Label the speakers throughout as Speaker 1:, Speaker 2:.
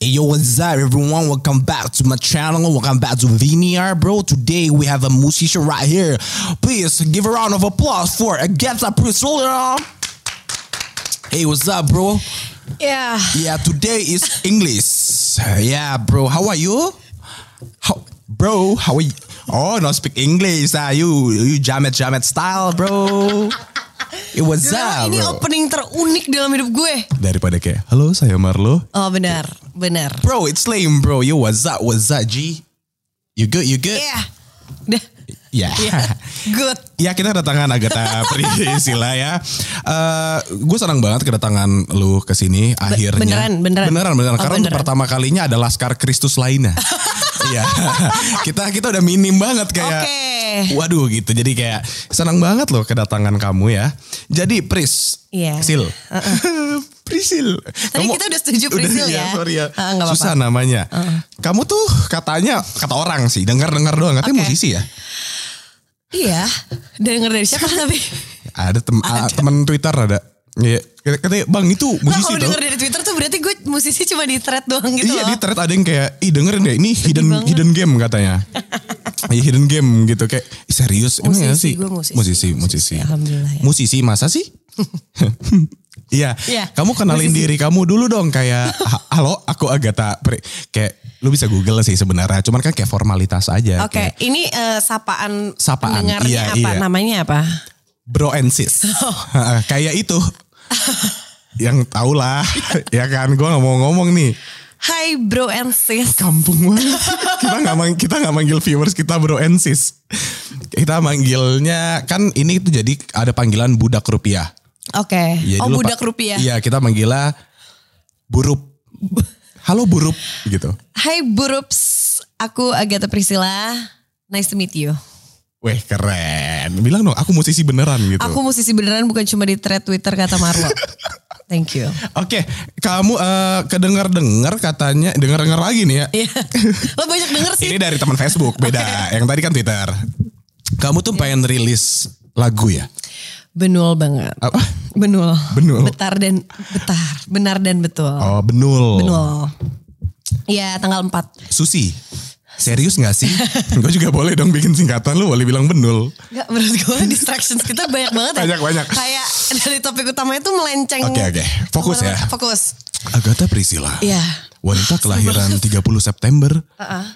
Speaker 1: Yo, what's up, everyone? Welcome back to my channel. Welcome back to VNR, bro. Today we have a musician right here. Please give a round of applause for Agatha Priscilla. Hey, what's up, bro?
Speaker 2: Yeah,
Speaker 1: Yeah, today is English. Yeah, bro. How are you? How, bro? How are you? Oh, no, speak English. Ah, you you jamet jamet style, bro. It was
Speaker 2: Gila,
Speaker 1: up,
Speaker 2: ini
Speaker 1: bro.
Speaker 2: opening terunik dalam hidup gue.
Speaker 1: Daripada kayak, halo saya Marlo.
Speaker 2: Oh benar, benar.
Speaker 1: Bro, it's lame, bro. Yo, what's up? What's up, G? You good? You good?
Speaker 2: Yeah, Ya. Dah.
Speaker 1: Yeah.
Speaker 2: Yeah. good.
Speaker 1: Ya kita kedatangan Agatha Priscilla ya. Eh gue senang banget kedatangan lu ke sini akhirnya.
Speaker 2: beneran, beneran.
Speaker 1: Beneran, beneran.
Speaker 2: Oh,
Speaker 1: Karena untuk
Speaker 2: beneran.
Speaker 1: pertama kalinya ada Laskar Kristus lainnya. Iya. kita kita udah minim banget kayak.
Speaker 2: Oke.
Speaker 1: Waduh gitu. Jadi kayak senang banget loh kedatangan kamu ya. Jadi Pris,
Speaker 2: Iya.
Speaker 1: Sil. Prisil.
Speaker 2: Tadi kita udah setuju Prisil ya.
Speaker 1: sorry ya.
Speaker 2: Ah, nggak apa-apa.
Speaker 1: Susah namanya. Kamu tuh katanya kata orang sih, dengar-dengar doang katanya
Speaker 2: Oke.
Speaker 1: musisi ya.
Speaker 2: Iya, dengar dari siapa tapi?
Speaker 1: Ada, tem ah, teman Twitter ada. Iya, kata- katanya bang itu
Speaker 2: Nah,
Speaker 1: musisi
Speaker 2: kalau
Speaker 1: tau.
Speaker 2: dengar dari Twitter tuh berarti gue musisi cuma di thread doang gitu
Speaker 1: Iya
Speaker 2: loh.
Speaker 1: di thread ada yang kayak, ih dengerin deh ini hidden
Speaker 2: banget.
Speaker 1: hidden game katanya. Iya hidden game gitu kayak "Ih, serius emang ya
Speaker 2: Musisi,
Speaker 1: sih
Speaker 2: gue musisi.
Speaker 1: musisi musisi
Speaker 2: Musisi, alhamdulillah ya.
Speaker 1: musisi masa sih? Iya,
Speaker 2: Iya,
Speaker 1: kamu kenalin
Speaker 2: musisi.
Speaker 1: diri kamu dulu dong kayak "Ha- halo aku Agatha Pri." kayak lu bisa google sih sebenarnya, cuman kan kayak formalitas aja.
Speaker 2: Oke,
Speaker 1: kayak,
Speaker 2: ini eh, sapaan,
Speaker 1: Sapaan,
Speaker 2: pendengarnya
Speaker 1: iya,
Speaker 2: apa?
Speaker 1: iya.
Speaker 2: Namanya apa?
Speaker 1: bro and sis.
Speaker 2: Oh.
Speaker 1: kayak itu. yang tau lah, ya kan gue nggak mau ngomong nih.
Speaker 2: Hi bro and sis.
Speaker 1: kampung banget. kita nggak mang kita nggak manggil viewers kita bro and sis. Kita manggilnya kan ini tuh jadi ada panggilan budak rupiah.
Speaker 2: Oke.
Speaker 1: Ya,
Speaker 2: oh
Speaker 1: dulu
Speaker 2: budak
Speaker 1: Pak-
Speaker 2: rupiah.
Speaker 1: Iya kita manggilnya burup. Halo burup gitu.
Speaker 2: Hai burups, aku Agatha Priscilla. Nice to meet you.
Speaker 1: Weh keren. Bilang dong aku musisi beneran gitu.
Speaker 2: Aku musisi beneran bukan cuma di thread Twitter kata Marlo. Thank you.
Speaker 1: Oke, kamu eh kedengar-dengar katanya dengar-dengar lagi nih ya.
Speaker 2: Iya. Lo banyak denger sih.
Speaker 1: Ini dari teman Facebook beda. Yang tadi kan Twitter. Kamu tuh pengen rilis lagu ya?
Speaker 2: Benul banget.
Speaker 1: Apa?
Speaker 2: Benul.
Speaker 1: Benul.
Speaker 2: Betar dan betar. Benar dan betul.
Speaker 1: Oh, benul.
Speaker 2: Benul. Iya tanggal 4.
Speaker 1: Susi, serius gak sih? gue juga boleh dong bikin singkatan, lu boleh bilang benul.
Speaker 2: Enggak menurut gue distractions kita banyak banget ya.
Speaker 1: Banyak-banyak.
Speaker 2: Kayak dari topik utamanya tuh melenceng.
Speaker 1: Oke, oke. Fokus ya.
Speaker 2: Fokus.
Speaker 1: Agatha Priscilla.
Speaker 2: Iya.
Speaker 1: Wanita kelahiran 30 September.
Speaker 2: Heeh.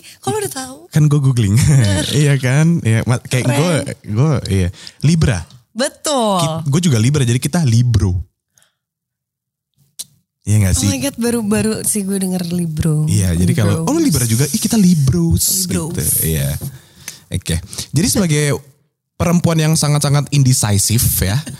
Speaker 2: Ih, kok lo udah tahu?
Speaker 1: Kan gue googling. iya kan? Iya, ma- kayak
Speaker 2: Keren. Oh.
Speaker 1: gue, gue iya. Libra.
Speaker 2: Betul.
Speaker 1: Gue juga Libra, jadi kita Libro. Iya gak
Speaker 2: Oh
Speaker 1: sih?
Speaker 2: my god, baru-baru sih gue denger Libro.
Speaker 1: Iya, jadi kalau oh lu
Speaker 2: Libro.
Speaker 1: Libra juga, ih kita Libros,
Speaker 2: Libros.
Speaker 1: gitu. Iya. Oke. Jadi sebagai perempuan yang sangat-sangat indecisive ya.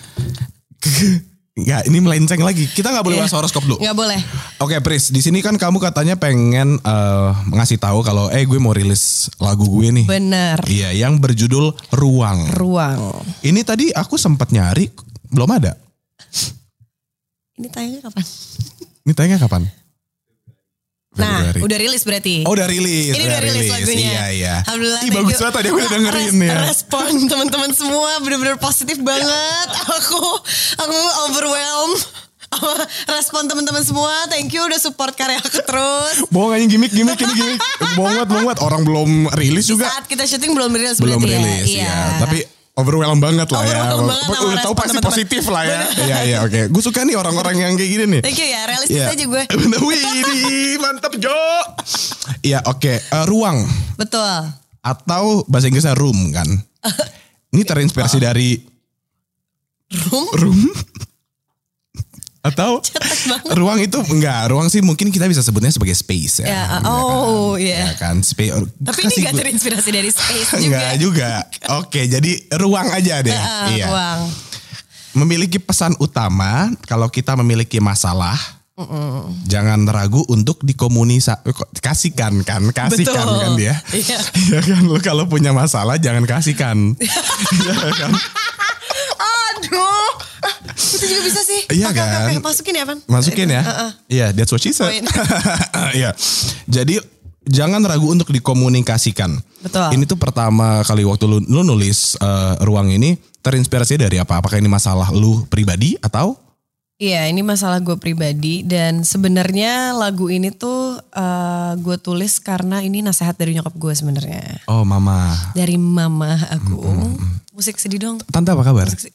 Speaker 1: Enggak, ini melenceng lagi. Kita nggak boleh
Speaker 2: Iya.
Speaker 1: bahas horoskop dulu.
Speaker 2: Nggak boleh.
Speaker 1: Oke, Pris, di sini kan kamu katanya pengen eh, ngasih tahu kalau eh gue mau rilis lagu gue nih.
Speaker 2: Bener.
Speaker 1: Iya, yang berjudul Ruang.
Speaker 2: Ruang.
Speaker 1: Ini tadi aku sempat nyari belum ada.
Speaker 2: Ini tayangnya kapan?
Speaker 1: Ini tayangnya kapan?
Speaker 2: Nah,
Speaker 1: Februari.
Speaker 2: udah rilis berarti.
Speaker 1: Oh udah rilis.
Speaker 2: ini udah rilis lagunya.
Speaker 1: Iya, iya.
Speaker 2: Alhamdulillah.
Speaker 1: Ih,
Speaker 2: thank
Speaker 1: bagus
Speaker 2: you.
Speaker 1: banget tadi aku udah dengerin
Speaker 2: Res-
Speaker 1: ya.
Speaker 2: Respon teman-teman semua bener-bener positif banget.
Speaker 1: Iya.
Speaker 2: aku aku overwhelmed sama respon teman-teman semua. Thank you udah support karya aku terus.
Speaker 1: Bohong aja gimmick, gimmick, ini gimmick. Bohong banget, bohong banget. Orang belum rilis juga.
Speaker 2: Saat kita syuting belum rilis
Speaker 1: Belum
Speaker 2: berarti
Speaker 1: rilis,
Speaker 2: ya.
Speaker 1: iya. Tapi overwhelmed banget lah
Speaker 2: Overwhelmed
Speaker 1: ya.
Speaker 2: banget
Speaker 1: Udah
Speaker 2: sama
Speaker 1: tahu
Speaker 2: respon
Speaker 1: pasti
Speaker 2: teman-teman.
Speaker 1: positif lah ya. Iya, iya, oke. Gue suka nih orang-orang yang kayak gini nih.
Speaker 2: Thank you ya, realistis
Speaker 1: Iya.
Speaker 2: aja gue.
Speaker 1: Bener, Wih, ini mantap Jo. Iya, oke. Eh, ruang
Speaker 2: Betul.
Speaker 1: atau bahasa Inggrisnya room kan. Ini terinspirasi
Speaker 2: Oh.
Speaker 1: dari
Speaker 2: Room
Speaker 1: room atau ruang itu enggak ruang sih mungkin kita bisa sebutnya sebagai space ya,
Speaker 2: Ya, oh,
Speaker 1: kan?
Speaker 2: iya.
Speaker 1: Ya kan space
Speaker 2: Tapi ini gak terinspirasi dari space juga.
Speaker 1: enggak juga oke jadi ruang aja deh
Speaker 2: Ah,
Speaker 1: iya
Speaker 2: Ruang.
Speaker 1: memiliki pesan utama kalau kita memiliki masalah jangan ragu untuk dikomunikasikan kan kasihkan
Speaker 2: Betul.
Speaker 1: kan dia
Speaker 2: Iya.
Speaker 1: Iya kan lu kalau punya masalah jangan kasihkan Iya kan
Speaker 2: Aduh. Ah, Itu juga bisa sih.
Speaker 1: Iya
Speaker 2: Oke, oke,
Speaker 1: kan?
Speaker 2: oke. Masukin ya, Pan?
Speaker 1: Masukin ya.
Speaker 2: Heeh.
Speaker 1: Iya, that's what she said.
Speaker 2: Poin.
Speaker 1: Iya. Jadi jangan ragu untuk dikomunikasikan.
Speaker 2: Betul.
Speaker 1: Ini tuh pertama kali waktu lu, lu nulis eh, ruang ini terinspirasi dari apa? Apakah ini masalah lu pribadi atau
Speaker 2: Iya, ini masalah gue pribadi dan sebenarnya lagu ini tuh eh, gue tulis karena ini nasihat dari nyokap gue sebenarnya
Speaker 1: Oh mama.
Speaker 2: dari mama aku. Musik sedih dong.
Speaker 1: Tante apa kabar?
Speaker 2: Musik sedih.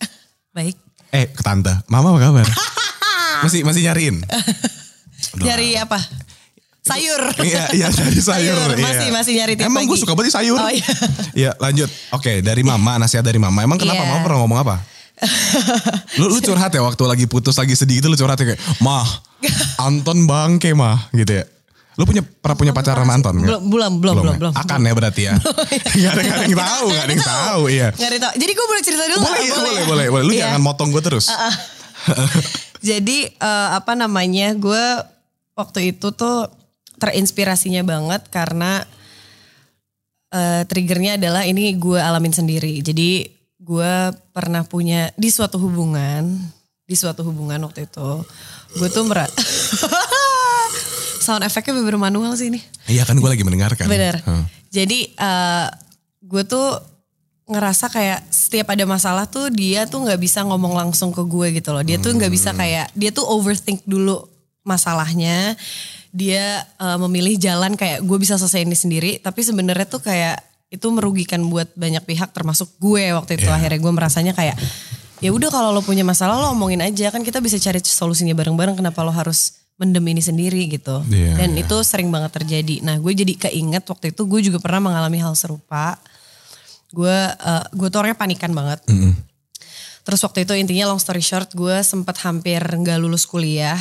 Speaker 2: Baik.
Speaker 1: Eh ke tante. Mama apa kabar? masih masih nyariin.
Speaker 2: Dari apa? Sayur.
Speaker 1: Iya, iya dari sayur.
Speaker 2: Sayur,
Speaker 1: iya.
Speaker 2: masih- masih nyari tiap
Speaker 1: Emang gue
Speaker 2: pagi.
Speaker 1: suka banget sayur.
Speaker 2: Oh, iya.
Speaker 1: Iya, lanjut. Oke, dari mama, nasihat dari mama. Emang kenapa
Speaker 2: Iya.
Speaker 1: mama pernah ngomong apa? lu, lu curhat ya waktu lagi putus, lagi sedih gitu lu curhat ya kayak, Mah, Anton bangke mah gitu ya. Lu punya pernah punya pacar sama Anton? nggak?
Speaker 2: Belum, belum, belum, belum, belum. iya.
Speaker 1: Akan ya berarti ya. Gak ada, nggak ada yang tahu, gak ada yang tahu, iya.
Speaker 2: Nggak ada tau. Jadi gue boleh cerita dulu.
Speaker 1: Boleh,
Speaker 2: nggak?
Speaker 1: iya, boleh, boleh, boleh. Lu
Speaker 2: Iya. Uh-uh.
Speaker 1: jangan motong gue terus.
Speaker 2: Jadi eh, apa namanya gue waktu itu tuh terinspirasinya banget karena eh, triggernya adalah ini gue alamin sendiri. Jadi gue pernah punya di suatu hubungan, di suatu hubungan waktu itu gue tuh merasa sound efeknya bener manual sih ini.
Speaker 1: Iya kan gue lagi mendengarkan.
Speaker 2: Bener.
Speaker 1: Hmm.
Speaker 2: Jadi eh, gue tuh ngerasa kayak setiap ada masalah tuh dia tuh nggak bisa ngomong langsung ke gue gitu loh. Dia tuh nggak
Speaker 1: Hmm.
Speaker 2: bisa kayak dia tuh overthink dulu masalahnya. Dia eh, memilih jalan kayak gue bisa selesai ini sendiri. Tapi sebenarnya tuh kayak itu merugikan buat banyak pihak termasuk gue waktu
Speaker 1: Iya.
Speaker 2: itu. Akhirnya gue merasanya kayak ya udah kalau lo punya masalah lo omongin aja kan kita bisa cari solusinya bareng-bareng. Kenapa lo harus mendem ini sendiri gitu.
Speaker 1: Iya.
Speaker 2: Dan itu sering banget terjadi. Nah, gue jadi keinget waktu itu gue juga pernah mengalami hal serupa. Gue eh, gue tuh orangnya panikan banget. Terus waktu itu intinya long story short, gue sempat hampir nggak lulus kuliah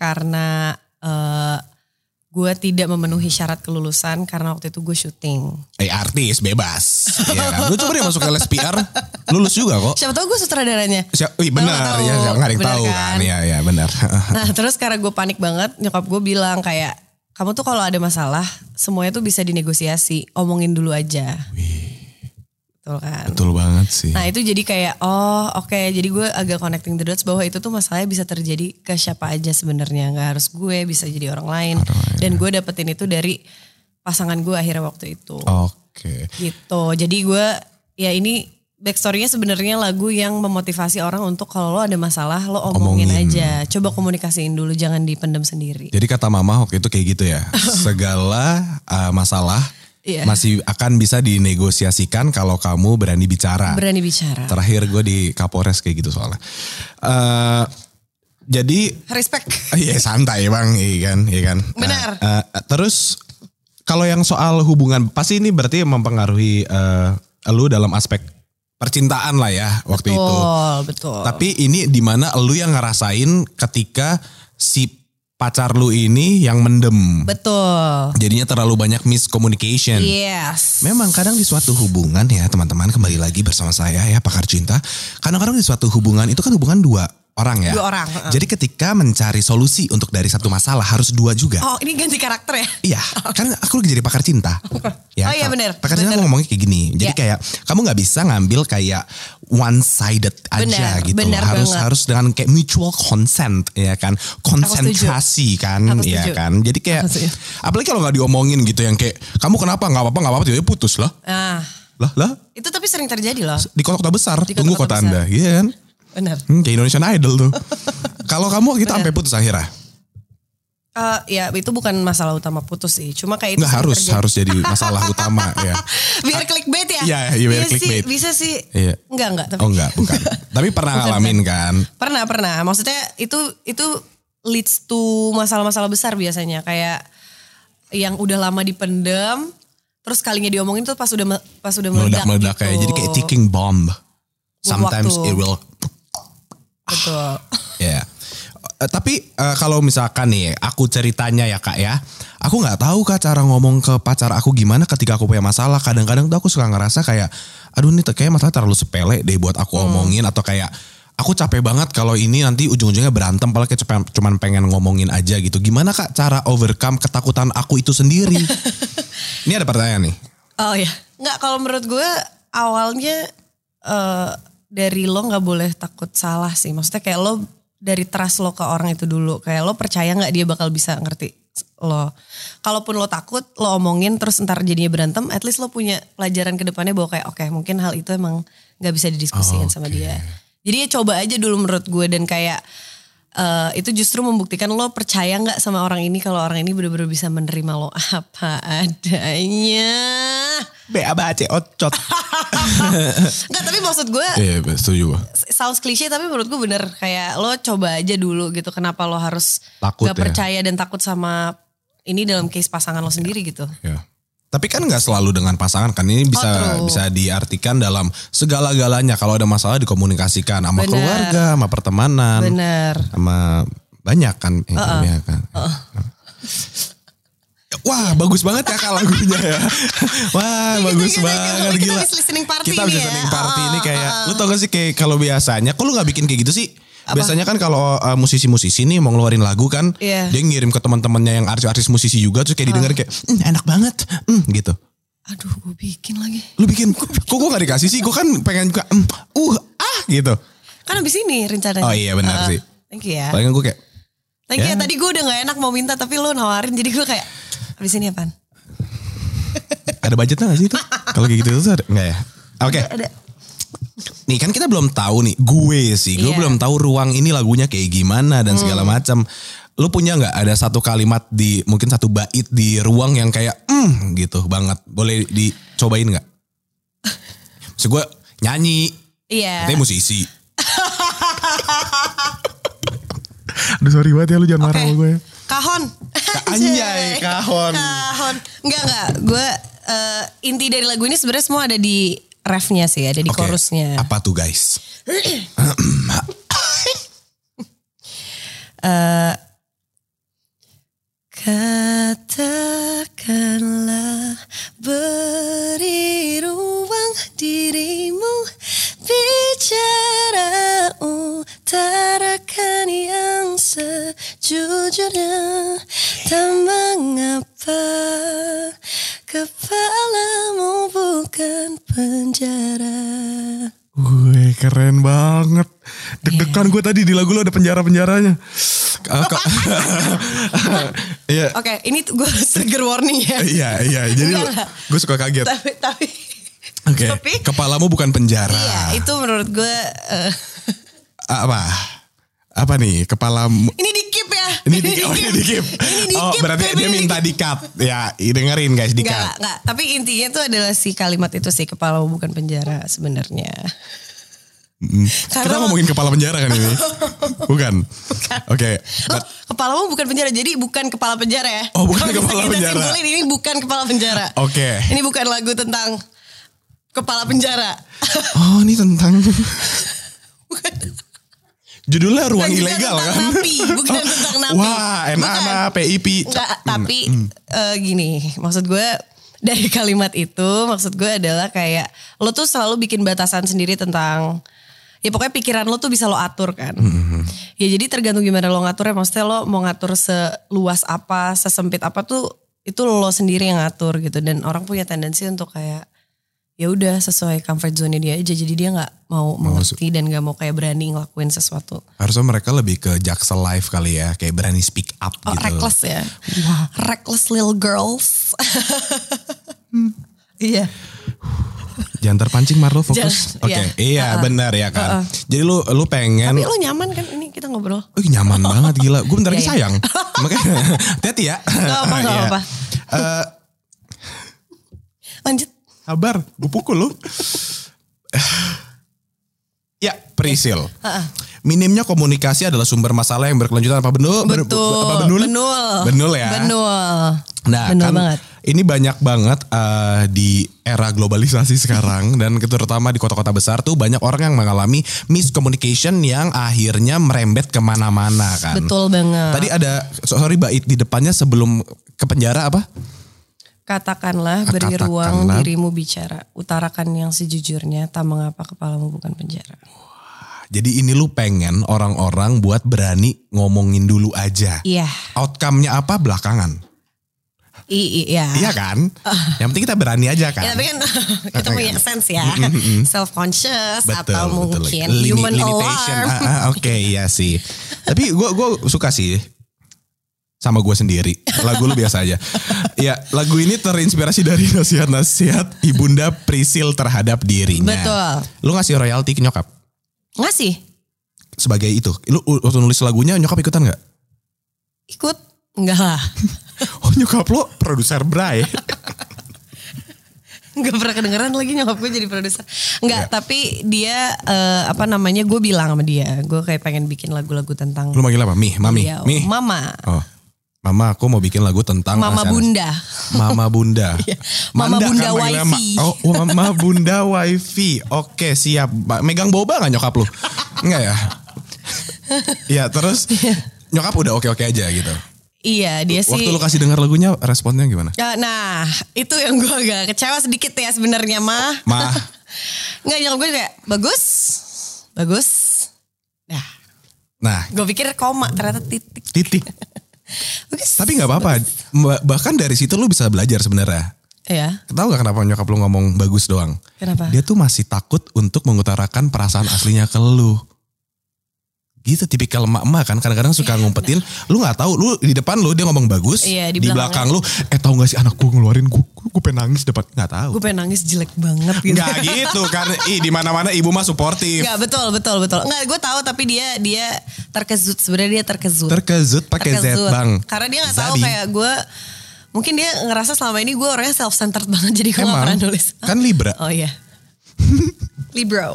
Speaker 2: karena eh, gue tidak memenuhi syarat kelulusan karena waktu itu gue syuting.
Speaker 1: Eh artis bebas. Iya kan? Lu coba deh masuk ke les PR, lulus juga kok.
Speaker 2: Siapa tahu gue sutradaranya.
Speaker 1: Siap, wih,
Speaker 2: Tahu nggak
Speaker 1: benar
Speaker 2: tahu?
Speaker 1: ya, siapa nggak ada yang
Speaker 2: Benar
Speaker 1: tahu
Speaker 2: kan?
Speaker 1: kan? Iya, iya, benar.
Speaker 2: Nah terus karena gue panik banget nyokap gue bilang kayak kamu tuh kalau ada masalah semuanya tuh bisa dinegosiasi omongin dulu aja. Betul kan?
Speaker 1: Betul banget sih.
Speaker 2: Nah itu jadi kayak oh oke jadi gue agak connecting the dots bahwa itu tuh masalahnya bisa terjadi ke siapa aja sebenarnya nggak harus gue bisa jadi orang lain dan gue dapetin itu dari pasangan gue akhirnya waktu itu
Speaker 1: Oke.
Speaker 2: gitu jadi gue ya ini backstorynya sebenarnya lagu yang memotivasi orang untuk kalau lo ada masalah lo omongin, Iya.
Speaker 1: Omongin.
Speaker 2: aja coba komunikasiin dulu jangan dipendam sendiri
Speaker 1: Jadi kata mama waktu itu kayak gitu ya. Segala uh, masalah
Speaker 2: Iya.
Speaker 1: masih akan bisa dinegosiasikan kalau kamu berani bicara.
Speaker 2: berani bicara
Speaker 1: Terakhir gue di Kapolres kayak gitu soalnya. Eh jadi
Speaker 2: respect
Speaker 1: Iya santai bang, iya kan, iya kan.
Speaker 2: Benar.
Speaker 1: Nah, eh, terus kalau yang soal hubungan, pasti ini berarti mempengaruhi eh, lu dalam aspek percintaan lah ya waktu itu.
Speaker 2: betul betul
Speaker 1: Tapi ini di mana lu yang ngerasain ketika si pacar lu ini yang mendem,
Speaker 2: betul
Speaker 1: jadinya terlalu banyak miscommunication.
Speaker 2: yes
Speaker 1: Memang kadang di suatu hubungan ya teman-teman kembali lagi bersama saya ya pakar cinta. Kadang-kadang di suatu hubungan itu kan hubungan dua orang ya.
Speaker 2: Dua orang, heeh.
Speaker 1: Jadi ketika mencari solusi untuk dari satu masalah harus dua juga.
Speaker 2: oh ini ganti karakter ya
Speaker 1: Iya, kan aku lagi jadi pakar cinta. Ya,
Speaker 2: Oh iya,
Speaker 1: Kak.
Speaker 2: bener,
Speaker 1: Pakar cinta
Speaker 2: bener.
Speaker 1: ngomongnya kayak gini. Jadi
Speaker 2: Iya.
Speaker 1: kayak kamu nggak bisa ngambil kayak one sided aja
Speaker 2: Bener,
Speaker 1: gitu.
Speaker 2: bener
Speaker 1: harus
Speaker 2: banget.
Speaker 1: harus dengan kayak mutual consent ya kan. Konsentrasi kan
Speaker 2: Aku
Speaker 1: ya
Speaker 2: setuju.
Speaker 1: kan. Jadi kayak
Speaker 2: Aku setuju.
Speaker 1: apalagi kalau nggak diomongin gitu yang kayak kamu kenapa nggak apa-apa nggak apa-apa tiba-tiba putus lah.
Speaker 2: ah
Speaker 1: Lah lah
Speaker 2: itu tapi sering terjadi loh
Speaker 1: di kota-kota besar
Speaker 2: Di
Speaker 1: tunggu kota anda
Speaker 2: kota-kota
Speaker 1: iya kan
Speaker 2: benar
Speaker 1: hmm, kayak Indonesian Idol tuh kalau kamu kita sampai putus akhirnya
Speaker 2: Eh, ya itu bukan masalah utama putus sih. Cuma kayak itu
Speaker 1: nggak
Speaker 2: sering
Speaker 1: harus
Speaker 2: terjadi.
Speaker 1: harus jadi masalah utama ya
Speaker 2: Biar clickbait ya.
Speaker 1: Iya, iya, biar
Speaker 2: sih,
Speaker 1: clickbait.
Speaker 2: bisa sih.
Speaker 1: Iya.
Speaker 2: Enggak enggak. Tapi
Speaker 1: oh enggak bukan tapi pernah ngalamin kan
Speaker 2: Pernah pernah. Maksudnya itu itu leads to masalah-masalah besar biasanya kayak yang udah lama dipendem terus kalinya diomongin tuh pas udah me- pas udah meledak,
Speaker 1: meledak meledak
Speaker 2: gitu.
Speaker 1: kayak jadi kayak ticking bomb sometimes
Speaker 2: waktu.
Speaker 1: it will
Speaker 2: Betul.
Speaker 1: ya Eh, tapi eh, kalau misalkan nih aku ceritanya ya kak ya aku nggak tahu kak cara ngomong ke pacar aku gimana ketika aku punya masalah kadang-kadang tuh aku suka ngerasa kayak aduh ini te- kayak masalah terlalu sepele deh buat aku
Speaker 2: Hmm.
Speaker 1: omongin atau kayak aku capek banget kalau ini nanti ujung-ujungnya berantem padahal kayak cuman- cuman pengen ngomongin aja gitu gimana kak cara overcome ketakutan aku itu sendiri ini ada pertanyaan nih
Speaker 2: Oh ya. Enggak kalau menurut gue awalnya eh, dari lo nggak boleh takut salah sih. Maksudnya kayak lo dari trust lo ke orang itu dulu. Kayak lo percaya nggak dia bakal bisa ngerti lo. Kalaupun lo takut, lo omongin terus ntar jadinya berantem. At least lo punya pelajaran ke depannya bahwa kayak oke mungkin hal itu emang nggak bisa didiskusikan sama dia. Jadi ya coba aja dulu menurut gue dan kayak eh, itu justru membuktikan lo percaya nggak sama orang ini kalau orang ini bener-bener bisa menerima lo apa adanya.
Speaker 3: Be abate ocot.
Speaker 2: Enggak tapi maksud gue
Speaker 1: Iya, iya, setuju gua.
Speaker 2: sounds klise tapi menurut gue bener kayak lo coba aja dulu gitu kenapa lo harus
Speaker 1: Takut
Speaker 2: gak
Speaker 1: ya.
Speaker 2: percaya dan takut sama ini dalam case pasangan lo sendiri gitu.
Speaker 1: Ya. Tapi kan nggak selalu dengan pasangan kan ini bisa
Speaker 2: true.
Speaker 1: bisa diartikan dalam segala-galanya kalau ada masalah dikomunikasikan sama
Speaker 2: Bener.
Speaker 1: keluarga, sama pertemanan,
Speaker 2: Bener.
Speaker 1: sama banyak kan yang punya kan. Wah, bagus banget ya kak lagunya ya. Wah,
Speaker 4: Gitu,
Speaker 1: bagus
Speaker 4: gitu, gitu.
Speaker 1: banget
Speaker 4: Kita
Speaker 1: gila.
Speaker 4: habis listening party
Speaker 1: Kita
Speaker 4: ini
Speaker 1: habis
Speaker 4: ya.
Speaker 1: listening party ini
Speaker 4: Oh,
Speaker 1: kayak lu tau gak sih kayak kalau biasanya kok lu nggak bikin kayak gitu sih? Biasanya kan kalau uh, musisi-musisi nih mau ngeluarin lagu kan,
Speaker 2: Iya.
Speaker 1: dia ngirim ke teman-temannya yang artis-artis musisi juga terus kayak didengar kayak "Mm, enak banget, mm, gitu.
Speaker 2: Aduh gue bikin lagi.
Speaker 1: Lu bikin kok gue gak dikasih sih? Gue kan pengen juga "Mm, uh ah gitu.
Speaker 2: Kan abis ini rencananya.
Speaker 1: Oh iya, benar
Speaker 2: Eh,
Speaker 1: sih.
Speaker 2: Thank you ya.
Speaker 1: Palingan gue kayak
Speaker 2: Thank you ya.
Speaker 1: Ya.
Speaker 2: Tadi gue udah gak enak mau minta tapi lo nawarin jadi gue kayak abis ini apaan?
Speaker 1: "Eh, ada budgetnya gak sih itu? Kalau kayak gitu tuh ada nggak ya? Oke.
Speaker 2: Ada.
Speaker 1: Nih kan kita belum tahu nih, gue sih, gue
Speaker 2: Iya. Hmm.
Speaker 1: belum tahu ruang ini lagunya kayak gimana dan segala macam. Lu punya nggak ada satu kalimat di mungkin satu bait di ruang yang kayak hmm gitu banget. Boleh dicobain nggak? Maksud gue nyanyi,
Speaker 2: Iya.
Speaker 1: katanya musisi. Aduh sorry banget ya lu jangan
Speaker 2: Oke. Kahon.
Speaker 1: Anjay, kahon.
Speaker 2: Kahon. Enggak enggak. Gue eh, inti dari lagu ini sebenarnya semua ada di refnya sih, ada di
Speaker 1: Oke,
Speaker 2: chorusnya.
Speaker 1: Apa tuh guys?
Speaker 2: Katakanlah beri ruang dirimu bicara utarakan yang sejujurnya tak mengapa kepalamu bukan penjara.
Speaker 1: Gue keren banget. Deg-degan
Speaker 2: Iya.
Speaker 1: gue tadi di lagu lo ada penjara-penjaranya. Eh, kok- Iya,
Speaker 2: Oke, ini gue trigger warning ya.
Speaker 1: iya, iya. Jadi
Speaker 2: Enggak lah.
Speaker 1: gue suka kaget.
Speaker 2: tapi tapi
Speaker 1: Oke.
Speaker 2: tapi
Speaker 1: Kepalamu bukan penjara.
Speaker 2: iya itu menurut gue eh,
Speaker 1: Apa? Apa nih? Kepalamu
Speaker 2: ini di keep ya
Speaker 1: ini di, oh, ini di keep.
Speaker 2: ini di
Speaker 1: Oh,
Speaker 2: keep,
Speaker 1: berarti
Speaker 2: baby,
Speaker 1: dia
Speaker 2: ini di
Speaker 1: minta di cut. Ya, dengerin guys, di
Speaker 2: Enggak,
Speaker 1: cut.
Speaker 2: enggak. Tapi intinya itu adalah si kalimat itu sih kepala bukan penjara sebenarnya.
Speaker 1: Kita
Speaker 2: Karena-
Speaker 1: ngomongin kepala penjara kan ini? bukan. Oke.
Speaker 2: Loh, kepalamu bukan penjara, jadi bukan kepala penjara ya.
Speaker 1: gitu? Oh, bukan
Speaker 2: Kalau bisa
Speaker 1: kepala
Speaker 2: kita
Speaker 1: penjara.
Speaker 2: simpulin, ini bukan kepala penjara.
Speaker 1: Oke.
Speaker 2: Ini bukan lagu tentang kepala penjara.
Speaker 1: Oh, ini tentang
Speaker 2: bukan.
Speaker 1: judulnya ruang
Speaker 2: Bukan juga
Speaker 1: ilegal
Speaker 2: tentang
Speaker 1: kan?
Speaker 2: napi, bukan
Speaker 1: Oh,
Speaker 2: tentang napi.
Speaker 1: Wah, enak
Speaker 2: Bukan.
Speaker 1: nah, PIP.
Speaker 2: Enggak, tapi eh, gini, maksud gue dari kalimat itu maksud gue adalah kayak lo tuh selalu bikin batasan sendiri tentang ya pokoknya pikiran lo tuh bisa lo atur kan. Ya jadi tergantung gimana lo ngaturnya, maksudnya lo mau ngatur seluas apa, sesempit apa tuh itu lo sendiri yang ngatur gitu dan orang punya tendensi untuk kayak ya udah sesuai comfort zone dia aja jadi dia nggak mau mengerti dan nggak mau kayak berani ngelakuin sesuatu
Speaker 1: Harusnya mereka lebih ke jaksel live kali ya, kayak berani speak up
Speaker 2: Oh,
Speaker 1: gitu.
Speaker 2: reckless ya. Reckless little girls.
Speaker 1: Hmm.
Speaker 2: Iya.
Speaker 1: Jangan terpancing Marlo fokus.
Speaker 2: Jangan,
Speaker 1: Oke,
Speaker 2: iya.
Speaker 1: iya benar ya kan. Jadi lu lu pengen
Speaker 2: Tapi lo nyaman kan ini kita ngobrol?
Speaker 1: Wih, nyaman banget gila. Gue bentar lagi
Speaker 2: Iya, iya.
Speaker 1: sayang. Makanya hati-hati ya.
Speaker 2: Gak apa, gak
Speaker 1: Iya.
Speaker 2: apa.
Speaker 1: Eh,
Speaker 2: Lanjut.
Speaker 1: Sabar, gue pukul lu. ya, Prisil. Minimnya komunikasi adalah sumber masalah yang berkelanjutan apa benul? Ber-
Speaker 2: Betul.
Speaker 1: Apa benul?
Speaker 2: Benul.
Speaker 1: Benul ya.
Speaker 2: Benul.
Speaker 1: Nah,
Speaker 2: Benul
Speaker 1: kan
Speaker 2: banget.
Speaker 1: ini banyak banget eh, di era globalisasi sekarang dan terutama di kota-kota besar tuh banyak orang yang mengalami miscommunication yang akhirnya merembet kemana-mana kan.
Speaker 2: Betul banget.
Speaker 1: Tadi ada so- sorry bait di depannya sebelum ke penjara apa?
Speaker 2: Katakanlah
Speaker 1: Ah,
Speaker 2: beri
Speaker 1: Katakanlah.
Speaker 2: ruang dirimu bicara. Utarakan yang sejujurnya. Tak mengapa kepalamu bukan penjara.
Speaker 1: Jadi ini lu pengen orang-orang buat berani ngomongin dulu aja.
Speaker 2: Iya.
Speaker 1: Outcome-nya apa belakangan.
Speaker 2: I- i- Iya.
Speaker 1: Iya kan? Yang penting kita berani aja kan. Iya
Speaker 2: Ah. Ya, tapi kan kita punya sense ya. Self conscious atau
Speaker 1: betul.
Speaker 2: mungkin
Speaker 1: Lini-
Speaker 2: human
Speaker 1: limitation.
Speaker 2: alarm.
Speaker 1: Ah, ah, Oke, iya sih. Tapi gue gua suka sih sama gue sendiri. Lagu lu biasa aja. Ya, lagu ini terinspirasi dari nasihat-nasihat Ibunda Prisil terhadap dirinya.
Speaker 2: Betul.
Speaker 1: Lu ngasih royalti ke nyokap?
Speaker 2: Ngasih.
Speaker 1: sebagai itu. Lu u- waktu nulis lagunya nyokap ikutan nggak?
Speaker 2: Ikut? Enggak lah.
Speaker 1: Oh nyokap lo produser Bray.
Speaker 2: Enggak pernah kedengeran lagi nyokap gue jadi produser.
Speaker 1: Iya.
Speaker 2: Enggak, tapi dia eh, apa namanya gue bilang sama dia. Gue kayak pengen bikin lagu-lagu tentang
Speaker 1: lu manggil apa? Mi, Mami,
Speaker 2: dia.
Speaker 1: Mi.
Speaker 2: Mama.
Speaker 1: Oh. Mama aku mau bikin lagu tentang
Speaker 2: Mama
Speaker 1: Asean-
Speaker 2: Bunda. Iya.
Speaker 1: Mama Bunda.
Speaker 2: Mama
Speaker 1: Manda kan
Speaker 2: Bunda
Speaker 1: panggilannya,
Speaker 2: Wifi.
Speaker 1: Ma- Oh, oh, Mama Bunda Wifi. Oke, siap. Ba- Megang boba gak nyokap lu? Enggak ya? ya, terus nyokap udah oke-oke aja gitu.
Speaker 2: Iya, dia Iya. sih.
Speaker 1: Waktu lu kan- kasih dengar lagunya, responnya gimana?
Speaker 2: Ya, nah, itu yang gue agak kecewa sedikit ya sebenarnya mah.
Speaker 1: Ma,
Speaker 2: Enggak, nyokap gue kayak bagus. Bagus. Nah,
Speaker 1: nah
Speaker 2: gue pikir koma ternyata titik.
Speaker 1: titik.
Speaker 2: Bagus.
Speaker 1: Tapi gak apa-apa. Ba- Bahkan dari situ lu bisa belajar sebenarnya.
Speaker 2: Iya.
Speaker 1: Tahu gak kenapa nyokap lu ngomong bagus doang?
Speaker 2: Kenapa?
Speaker 1: Dia tuh masih takut untuk mengutarakan perasaan aslinya ke lu. Gitu tipikal emak-emak kan kadang-kadang suka ngumpetin, lu nggak tahu lu di depan lu dia ngomong bagus,
Speaker 2: Iya,
Speaker 1: di,
Speaker 2: di
Speaker 1: belakang lu eh tahu gak sih anak gue ngeluarin gue gue pengen nangis depan nggak tahu.
Speaker 2: Gue pengen nangis jelek banget gitu.
Speaker 1: Nggak gitu kan. Ih di mana-mana ibu mah suportif.
Speaker 2: Enggak, betul, betul, betul. Enggak, gue tahu tapi dia dia terkejut. Sebenarnya dia terkejut.
Speaker 1: Terkejut pakai Z
Speaker 2: Terkejut.
Speaker 1: bang.
Speaker 2: Karena dia nggak tahu
Speaker 1: Zabi.
Speaker 2: kayak gue mungkin dia ngerasa selama ini gue orangnya self centered banget jadi gue
Speaker 1: Emang?
Speaker 2: nggak pernah nulis.
Speaker 1: Kan Libra.
Speaker 2: Oh iya. Libro.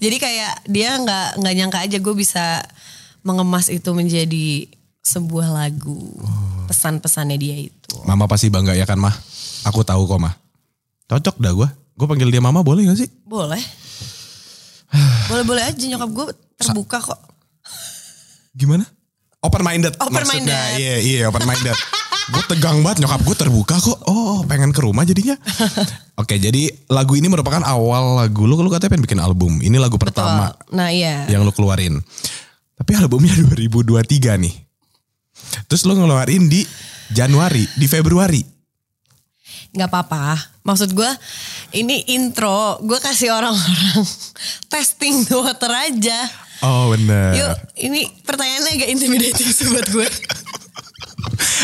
Speaker 2: jadi kayak dia nggak nggak nyangka aja gue bisa mengemas itu menjadi sebuah lagu.
Speaker 1: Oh.
Speaker 2: Pesan-pesannya dia itu.
Speaker 1: Mama pasti bangga ya kan mah. Aku tahu kok mah. Cocok dah gue. Gue panggil dia mama boleh gak sih?
Speaker 2: Boleh. Boleh-boleh aja nyokap gue terbuka kok.
Speaker 1: Gimana? Open minded.
Speaker 2: Open
Speaker 1: maksudnya.
Speaker 2: minded.
Speaker 1: Iya iya open minded. gue tegang banget nyokap gue terbuka kok. Oh pengen ke rumah jadinya. Oke jadi lagu ini merupakan awal lagu lu. Lu katanya pengen bikin album. Ini lagu pertama
Speaker 2: Nah iya.
Speaker 1: yang lu keluarin. Tapi albumnya 2023 nih. Terus lu ngeluarin di Januari, di Februari.
Speaker 2: nggak apa-apa. Maksud gue ini intro, gue kasih orang-orang testing the water aja.
Speaker 1: Oh bener.
Speaker 2: Yuk, ini pertanyaannya agak intimidating sih buat gue.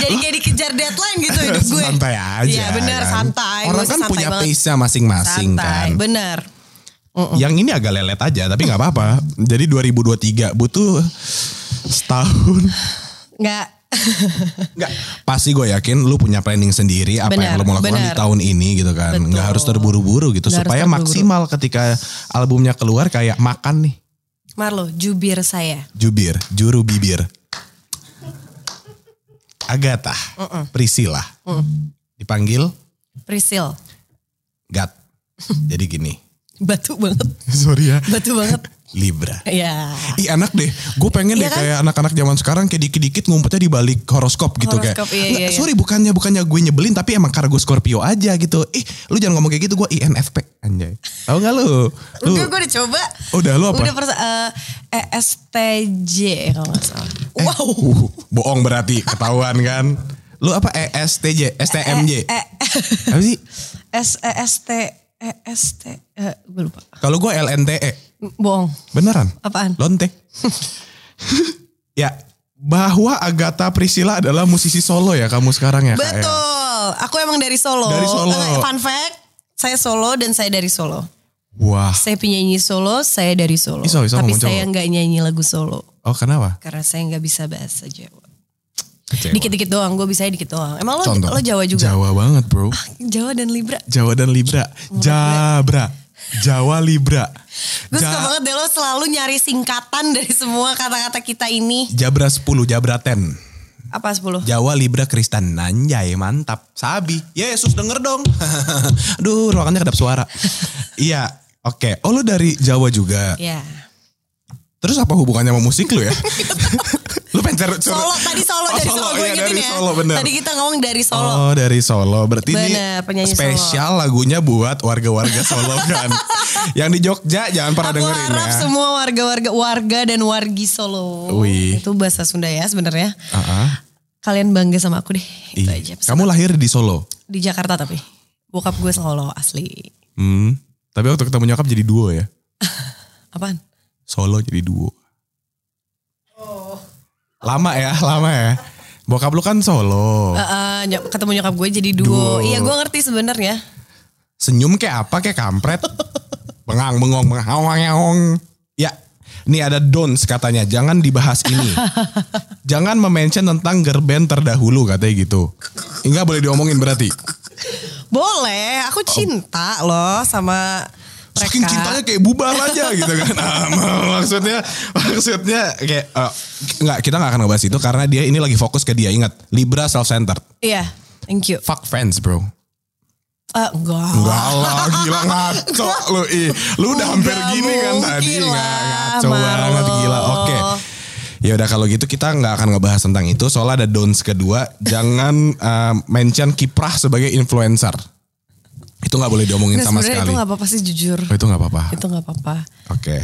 Speaker 2: Jadi kayak dikejar deadline gitu hidup gue.
Speaker 1: Santai aja.
Speaker 2: Iya benar,
Speaker 1: kan?
Speaker 2: santai. Gue
Speaker 1: Orang kan
Speaker 2: santai
Speaker 1: punya
Speaker 2: banget.
Speaker 1: pace-nya masing-masing
Speaker 2: Santai,
Speaker 1: kan.
Speaker 2: benar. Oh.
Speaker 1: Yang ini agak lelet aja tapi nggak apa-apa. Jadi 2023 butuh setahun.
Speaker 2: Nggak,
Speaker 1: Enggak. Pasti gue yakin lu punya planning sendiri apa yang
Speaker 2: Benar,
Speaker 1: lu mau lakukan di
Speaker 2: benar.
Speaker 1: tahun ini gitu kan.
Speaker 2: Betul.
Speaker 1: Nggak harus terburu-buru gitu
Speaker 2: Nggak harus
Speaker 1: supaya
Speaker 2: terburu-buru.
Speaker 1: maksimal ketika albumnya keluar kayak makan nih.
Speaker 2: Marlo, jubir saya.
Speaker 1: Jubir, juru bibir. Agatha, Priscilla. Dipanggil
Speaker 2: Prisil,
Speaker 1: Gat. Jadi gini.
Speaker 2: batu banget,
Speaker 1: Sorry ya.
Speaker 2: batu banget.
Speaker 1: Libra.
Speaker 2: Ya.
Speaker 1: Ih enak deh, gue pengen
Speaker 2: Iya
Speaker 1: deh
Speaker 2: kan?
Speaker 1: kayak anak-anak zaman sekarang kayak dikit-dikit ngumpetnya di balik horoskop gitu
Speaker 2: Horoskop,
Speaker 1: kayak.
Speaker 2: iya,
Speaker 1: "Nggak,
Speaker 2: iya, iya."
Speaker 1: Sorry bukannya bukannya gue nyebelin tapi emang karena gue Scorpio aja gitu. Ih lu jangan ngomong kayak gitu gue INFP anjay. Tahu gak lu? Lu eh,
Speaker 2: Udah gue udah coba.
Speaker 1: Udah, lu apa?
Speaker 2: Udah persa, eh, ESTJ kalau nggak salah.
Speaker 1: wow. uh, bohong berarti ketahuan kan. Lu apa E, ESTJ, STMJ.
Speaker 2: Eh, eh.
Speaker 1: Apa sih?
Speaker 2: S E S T E S T eh, gue lupa.
Speaker 1: Kalau gue LNTE.
Speaker 2: Bohong.
Speaker 1: E. Beneran?
Speaker 2: Apaan?
Speaker 1: Lonte. ya, bahwa Agatha Priscilla adalah musisi solo ya kamu sekarang ya Kak, ya?
Speaker 2: Betul. Aku emang dari Solo.
Speaker 1: Dari Solo.
Speaker 2: Eh, Fun fact, saya Solo dan saya dari Solo.
Speaker 1: Wah,
Speaker 2: Saya penyanyi Solo, saya dari Solo.
Speaker 1: Iso, iso
Speaker 2: Tapi
Speaker 1: ngomong
Speaker 2: saya
Speaker 1: Jawa.
Speaker 2: nggak nyanyi lagu Solo
Speaker 1: oh kenapa?
Speaker 2: karena saya nggak bisa bahasa Jawa.
Speaker 1: Kecewa.
Speaker 2: Dikit-dikit doang, gue bisa dikit doang. Emang lo,
Speaker 1: Contoh.
Speaker 2: Oh, lo Jawa juga? Ah.
Speaker 1: Jawa banget bro.
Speaker 2: Jawa dan Libra.
Speaker 1: Jawa dan Libra. Jabra. Jawa Libra.
Speaker 2: Gue suka
Speaker 1: Ja-
Speaker 2: banget deh lo selalu nyari singkatan dari semua kata-kata kita ini.
Speaker 1: Jabra 10, Jabra 10.
Speaker 2: Apa 10?
Speaker 1: Jawa Libra Kristen. Anjay mantap. Sabi. Yesus denger dong. Aduh ruangannya kedap suara. iya. Oke. Oh lu dari Jawa juga.
Speaker 2: Ya.
Speaker 1: Terus apa hubungannya sama musik lu ya? lu pengen cari- cari-
Speaker 2: Solo, tadi Solo
Speaker 1: Oh,
Speaker 2: dari Solo, gue
Speaker 1: iya,
Speaker 2: ingetin
Speaker 1: dari
Speaker 2: ya.
Speaker 1: Solo bener.
Speaker 2: Tadi kita ngomong dari Solo.
Speaker 1: Oh dari Solo berarti
Speaker 2: Bener,
Speaker 1: ini
Speaker 2: penyanyi
Speaker 1: spesial lagunya buat warga-warga Solo kan. Yang di Jogja jangan pernah
Speaker 2: Aku
Speaker 1: dengerin
Speaker 2: harap
Speaker 1: ya.
Speaker 2: semua warga-warga warga dan wargi Solo.
Speaker 1: Wih.
Speaker 2: Itu bahasa Sunda ya sebenarnya.
Speaker 1: Ah-ah.
Speaker 2: Kalian bangga sama aku deh. Itu
Speaker 1: Ih,
Speaker 2: aja.
Speaker 1: Ah,
Speaker 2: pesan.
Speaker 1: Iya. Kamu lahir di Solo.
Speaker 2: Di Jakarta tapi. Bokap gue Solo asli.
Speaker 1: Hmm. Tapi waktu ketemu nyokap jadi duo ya.
Speaker 2: Apaan?
Speaker 1: Solo jadi duo. Lama ya, lama ya. Bokap lu kan Solo.
Speaker 2: Eh, eh, nyok- ketemu nyokap gue jadi duo.
Speaker 1: Duo.
Speaker 2: Iya gue ngerti sebenarnya.
Speaker 1: Senyum kayak apa kayak kampret. Bengang bengong bengang awang awang. Ya. Nih ada don'ts katanya, jangan dibahas ini. jangan memention tentang gerben terdahulu katanya gitu. Enggak boleh diomongin berarti.
Speaker 2: Boleh, aku cinta loh sama mereka.
Speaker 1: Oh. Saking cintanya kayak bubar aja gitu kan. Ah, maksudnya maksudnya kayak eh, enggak kita nggak akan ngebahas itu karena dia ini lagi fokus ke dia. Ingat, Libra self centered.
Speaker 2: Iya, thank you.
Speaker 1: Fuck friends, bro.
Speaker 2: Eh, enggak.
Speaker 1: Enggak lah, gila ngaco lu. Ih, lu udah hampir
Speaker 2: Enggak
Speaker 1: gini kan
Speaker 2: mungkin
Speaker 1: tadi. Enggak,
Speaker 2: lah,
Speaker 1: ngaco
Speaker 2: malu.
Speaker 1: banget gila. Oke. Ya udah kalau gitu kita nggak akan ngebahas tentang itu. Soalnya ada don'ts kedua, jangan eh, mention kiprah sebagai influencer. Itu nggak boleh diomongin
Speaker 2: Nggak,
Speaker 1: sama
Speaker 2: sebenarnya
Speaker 1: sekali.
Speaker 2: itu gak apa-apa sih jujur.
Speaker 1: Oh, itu nggak apa-apa.
Speaker 2: Itu gak apa-apa.
Speaker 1: Oke.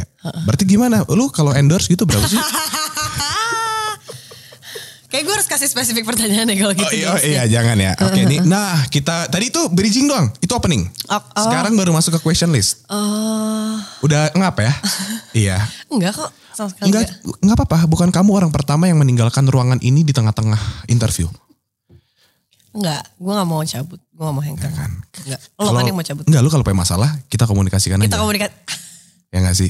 Speaker 1: Berarti gimana? Lu kalau endorse gitu berapa sih?
Speaker 2: Ah. Kayak gue harus kasih spesifik pertanyaan ya kalau gitu.
Speaker 1: Oh iya, oh iya, jangan ya. Oke, ini nah kita tadi itu bridging doang. Itu opening.
Speaker 2: Oh, oh.
Speaker 1: Sekarang baru masuk ke question list.
Speaker 2: Eh,
Speaker 1: Udah ngap ya? iya.
Speaker 2: enggak kok, sama sekali
Speaker 1: Enggak
Speaker 2: enggak.
Speaker 1: enggak apa-apa, bukan kamu orang pertama yang meninggalkan ruangan ini di tengah-tengah interview.
Speaker 2: Enggak, gue gak mau cabut. Gue gak mau hengkang.
Speaker 1: Kan.
Speaker 2: Enggak, lo kan yang mau cabut.
Speaker 1: Enggak, lu kalau punya masalah, kita komunikasikan
Speaker 2: Kita
Speaker 1: aja.
Speaker 2: komunikasi.
Speaker 1: ya enggak sih?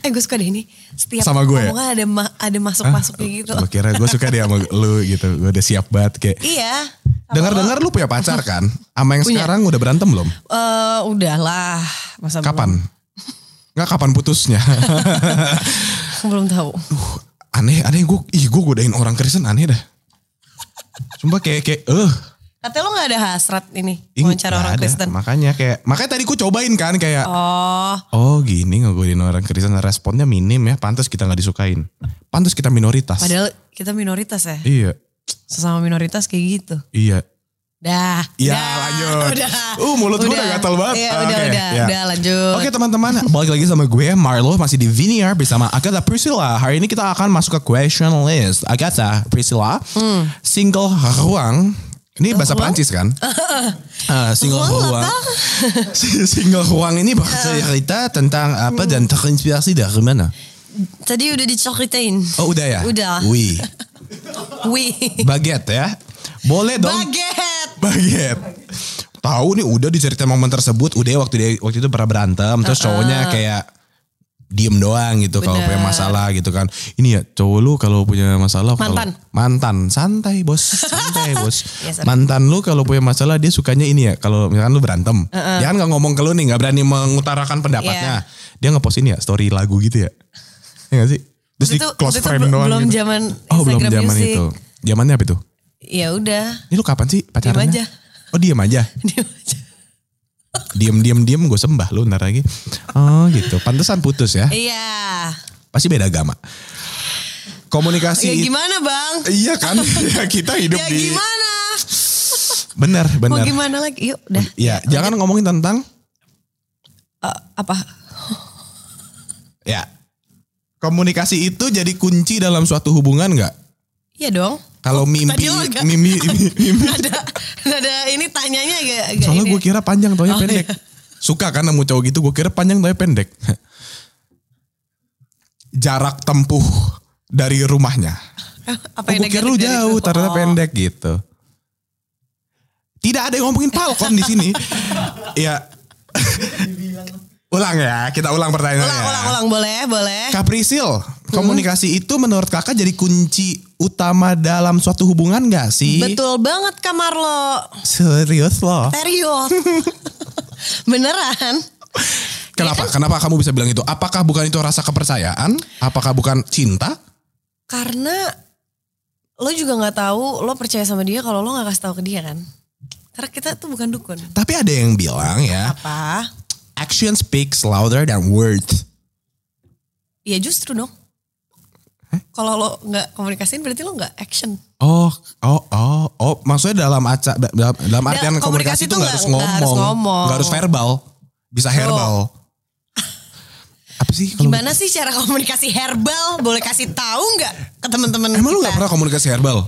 Speaker 2: Eh gue suka deh ini. Setiap
Speaker 1: Sama gue ya?
Speaker 2: ngomongan ada, ma- ada masuk-masuk kayak gitu.
Speaker 1: Gue kira gue suka dia sama lu gitu. Gue udah siap banget kayak.
Speaker 2: Iya.
Speaker 1: Dengar-dengar lu punya pacar kan? Sama yang
Speaker 2: Punya.
Speaker 1: sekarang udah berantem belum?
Speaker 2: Eh udahlah. Masa belum-
Speaker 1: Kapan? Enggak kapan putusnya?
Speaker 2: Belum tahu.
Speaker 1: aneh, aneh gue, ih gue godain orang Kristen aneh dah. Sumpah kayak kayak eh
Speaker 2: Katanya lo gak ada hasrat ini.
Speaker 1: ing-
Speaker 2: Wawancara
Speaker 1: nggak
Speaker 2: orang
Speaker 1: ada.
Speaker 2: Kristen.
Speaker 1: Makanya kayak makanya tadi gue cobain kan kayak
Speaker 2: Oh.
Speaker 1: Oh gini ngegodain orang Kristen responnya minim ya pantas kita nggak disukain pantas kita minoritas
Speaker 2: Padahal kita minoritas ya.
Speaker 1: iya
Speaker 2: Sesama minoritas kayak gitu.
Speaker 1: iya
Speaker 2: Dah.
Speaker 1: Iya,
Speaker 2: dah,
Speaker 1: lanjut.
Speaker 2: Udah.
Speaker 1: Uh, mulut gua udah gatal banget.
Speaker 2: Iya,
Speaker 1: Ah,
Speaker 2: udah,
Speaker 1: oke,
Speaker 2: udah,
Speaker 1: ya.
Speaker 2: udah lanjut.
Speaker 1: Oke teman-teman, balik lagi sama gue Marlo masih di Viniar bersama Agatha Priscilla. Hari ini kita akan masuk ke question list. Agatha Priscilla, single ruang. Ini bahasa Perancis kan? Ah, single ruang. single ruang ini bercerita tentang apa dan terinspirasi dari mana?
Speaker 2: Tadi udah diceritain.
Speaker 1: Oh udah ya?
Speaker 2: Udah.
Speaker 1: Wih,
Speaker 2: Wih.
Speaker 1: baguette ya. Boleh dong.
Speaker 2: Baget.
Speaker 1: Baget. Tahu nih udah dicerita momen tersebut, udah ya waktu dia waktu itu pernah berantem, terus cowoknya kayak diem doang gitu kalau punya masalah gitu kan. Ini ya cowok lu kalau punya masalah kalau-
Speaker 2: Mantan.
Speaker 1: mantan santai bos, santai bos.
Speaker 2: Iya, sorry.
Speaker 1: mantan lu kalau punya masalah dia sukanya ini ya kalau misalkan lu berantem, dia kan nggak ngomong ke lu nih, nggak berani mengutarakan
Speaker 2: Iya.
Speaker 1: pendapatnya. Dia ngepost ini ya story lagu gitu ya. Ya gak sih? Terus
Speaker 2: Waktu
Speaker 1: di
Speaker 2: itu-
Speaker 1: close
Speaker 2: waktu itu
Speaker 1: frame
Speaker 2: bel-
Speaker 1: doang
Speaker 2: belum
Speaker 1: gitu.
Speaker 2: zaman
Speaker 1: Oh, belum
Speaker 2: Instagram
Speaker 1: zaman
Speaker 2: Music.
Speaker 1: itu. Zamannya apa itu?
Speaker 2: Ya udah.
Speaker 1: Ini lu kapan sih pacarannya?
Speaker 2: aja.
Speaker 1: Oh diem aja.
Speaker 2: Diem aja.
Speaker 1: diem diem diem gue sembah lu ntar lagi. Oh gitu. Pantesan putus ya.
Speaker 2: Iya.
Speaker 1: Pasti beda agama. Komunikasi.
Speaker 2: Ya gimana bang?
Speaker 1: Iya kan. Ya, kita hidup
Speaker 2: Ya
Speaker 1: di.
Speaker 2: gimana?
Speaker 1: Bener
Speaker 2: Mau
Speaker 1: bener.
Speaker 2: gimana lagi? Yuk udah.
Speaker 1: Ya jangan ngomongin tentang.
Speaker 2: Eh, apa?
Speaker 1: Ya. Komunikasi itu jadi kunci dalam suatu hubungan nggak?
Speaker 2: Iya dong.
Speaker 1: Kalau mimpi,
Speaker 2: tadi lo agak-
Speaker 1: mimpi, mimpi, mimpi.
Speaker 2: Nada, nada ini tanyanya agak, agak
Speaker 1: Soalnya
Speaker 2: ini. Oh, iya.
Speaker 1: gue kira panjang tohnya pendek. Suka kan nemu cowok gitu, gue kira panjang tohnya pendek. Jarak tempuh dari rumahnya.
Speaker 2: Eh, Apa
Speaker 1: Oh,
Speaker 2: yang
Speaker 1: gue kira lu
Speaker 2: negatif dari
Speaker 1: jauh,
Speaker 2: itu?
Speaker 1: ternyata
Speaker 2: gitu Oh.
Speaker 1: pendek gitu. Tidak ada yang ngomongin Falcon di sini. ya. ulang ya, kita ulang pertanyaannya.
Speaker 2: Ulang, ulang, Hmm. ulang. Boleh, boleh.
Speaker 1: Kak Prisil, komunikasi itu menurut kakak jadi kunci utama dalam suatu hubungan gak sih?
Speaker 2: Betul Eh, banget kamar lo.
Speaker 1: Serius loh.
Speaker 2: Serius. Beneran.
Speaker 1: Kenapa?
Speaker 2: iya.
Speaker 1: Kenapa kamu bisa bilang itu? Apakah bukan itu rasa kepercayaan? Apakah bukan cinta?
Speaker 2: Karena lo juga nggak tahu lo percaya sama dia kalau lo nggak kasih tahu ke dia kan. Karena kita tuh bukan dukun.
Speaker 1: Tapi ada yang bilang ya,
Speaker 2: Apa?
Speaker 1: action speaks louder than words.
Speaker 2: Ya justru dong. Kalau lo nggak komunikasiin berarti lo nggak action.
Speaker 1: Oh, oh, oh, oh, maksudnya dalam acak dalam, dalam artian komunikasi
Speaker 2: komunikasi
Speaker 1: itu
Speaker 2: tuh
Speaker 1: nggak
Speaker 2: nggak-
Speaker 1: harus
Speaker 2: nggak harus
Speaker 1: ngomong,
Speaker 2: ngomong.
Speaker 1: nggak harus verbal, bisa herbal. Apa sih? Kalau,
Speaker 2: Gimana sih cara komunikasi herbal? Boleh kasih tahu nggak ke teman-teman?
Speaker 1: Emang lu nggak
Speaker 2: kita?
Speaker 1: pernah komunikasi herbal?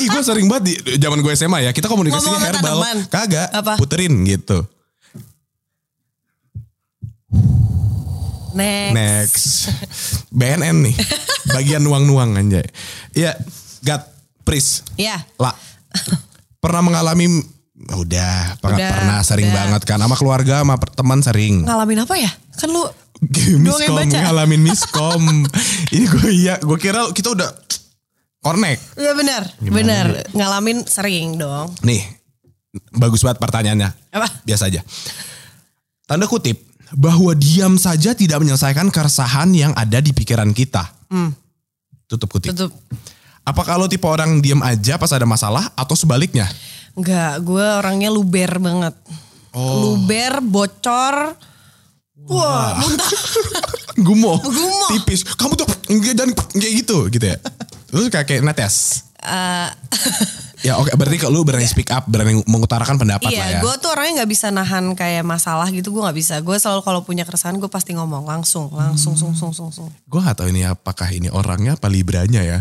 Speaker 1: Ih, gue sering banget di zaman gue SMA ya, kita komunikasinya
Speaker 2: Ngomong sama
Speaker 1: herbal,
Speaker 2: tanaman.
Speaker 1: kagak,
Speaker 2: Apa?
Speaker 1: puterin gitu.
Speaker 2: Next.
Speaker 1: Next. BNN nih. Bagian nuang-nuang anjay. Ya, Gat, Pris,
Speaker 2: Ya.
Speaker 1: La. Pernah mengalami udah, pernah,
Speaker 2: Udah,
Speaker 1: pernah sering
Speaker 2: udah.
Speaker 1: banget kan sama keluarga sama per- teman sering.
Speaker 2: ngalamin apa ya? Kan lu
Speaker 1: miskom
Speaker 2: yang baca.
Speaker 1: ngalamin miskom. Ini gue iya, gue kira kita udah connect.
Speaker 2: Iya benar, benar. Ngalamin sering dong.
Speaker 1: Nih, bagus banget pertanyaannya.
Speaker 2: Apa?
Speaker 1: Biasa aja. Tanda kutip, bahwa diam saja tidak menyelesaikan keresahan yang ada di pikiran kita.
Speaker 2: Hmm.
Speaker 1: Tutup kutip.
Speaker 2: Tutup.
Speaker 1: Apa kalau tipe orang diam aja pas ada masalah atau sebaliknya?
Speaker 2: Enggak, gue orangnya luber banget.
Speaker 1: Oh.
Speaker 2: Luber, bocor. Wah, muntah.
Speaker 1: Gumo.
Speaker 2: Gumo.
Speaker 1: Tipis. Kamu tuh nggak dan kayak gitu gitu ya. Terus kayak kayak netes.
Speaker 2: Eh,
Speaker 1: Ya oke, berarti kalau lu berani speak up, berani mengutarakan pendapat lah ya.
Speaker 2: Iya, gue tuh orangnya nggak bisa nahan kayak masalah gitu, gue nggak bisa. Gue selalu kalau punya keresahan gue pasti ngomong langsung, langsung,
Speaker 1: Hmm.
Speaker 2: sung, sung, sung, sung.
Speaker 1: gue gak tahu ini apakah ini orangnya apa libranya ya.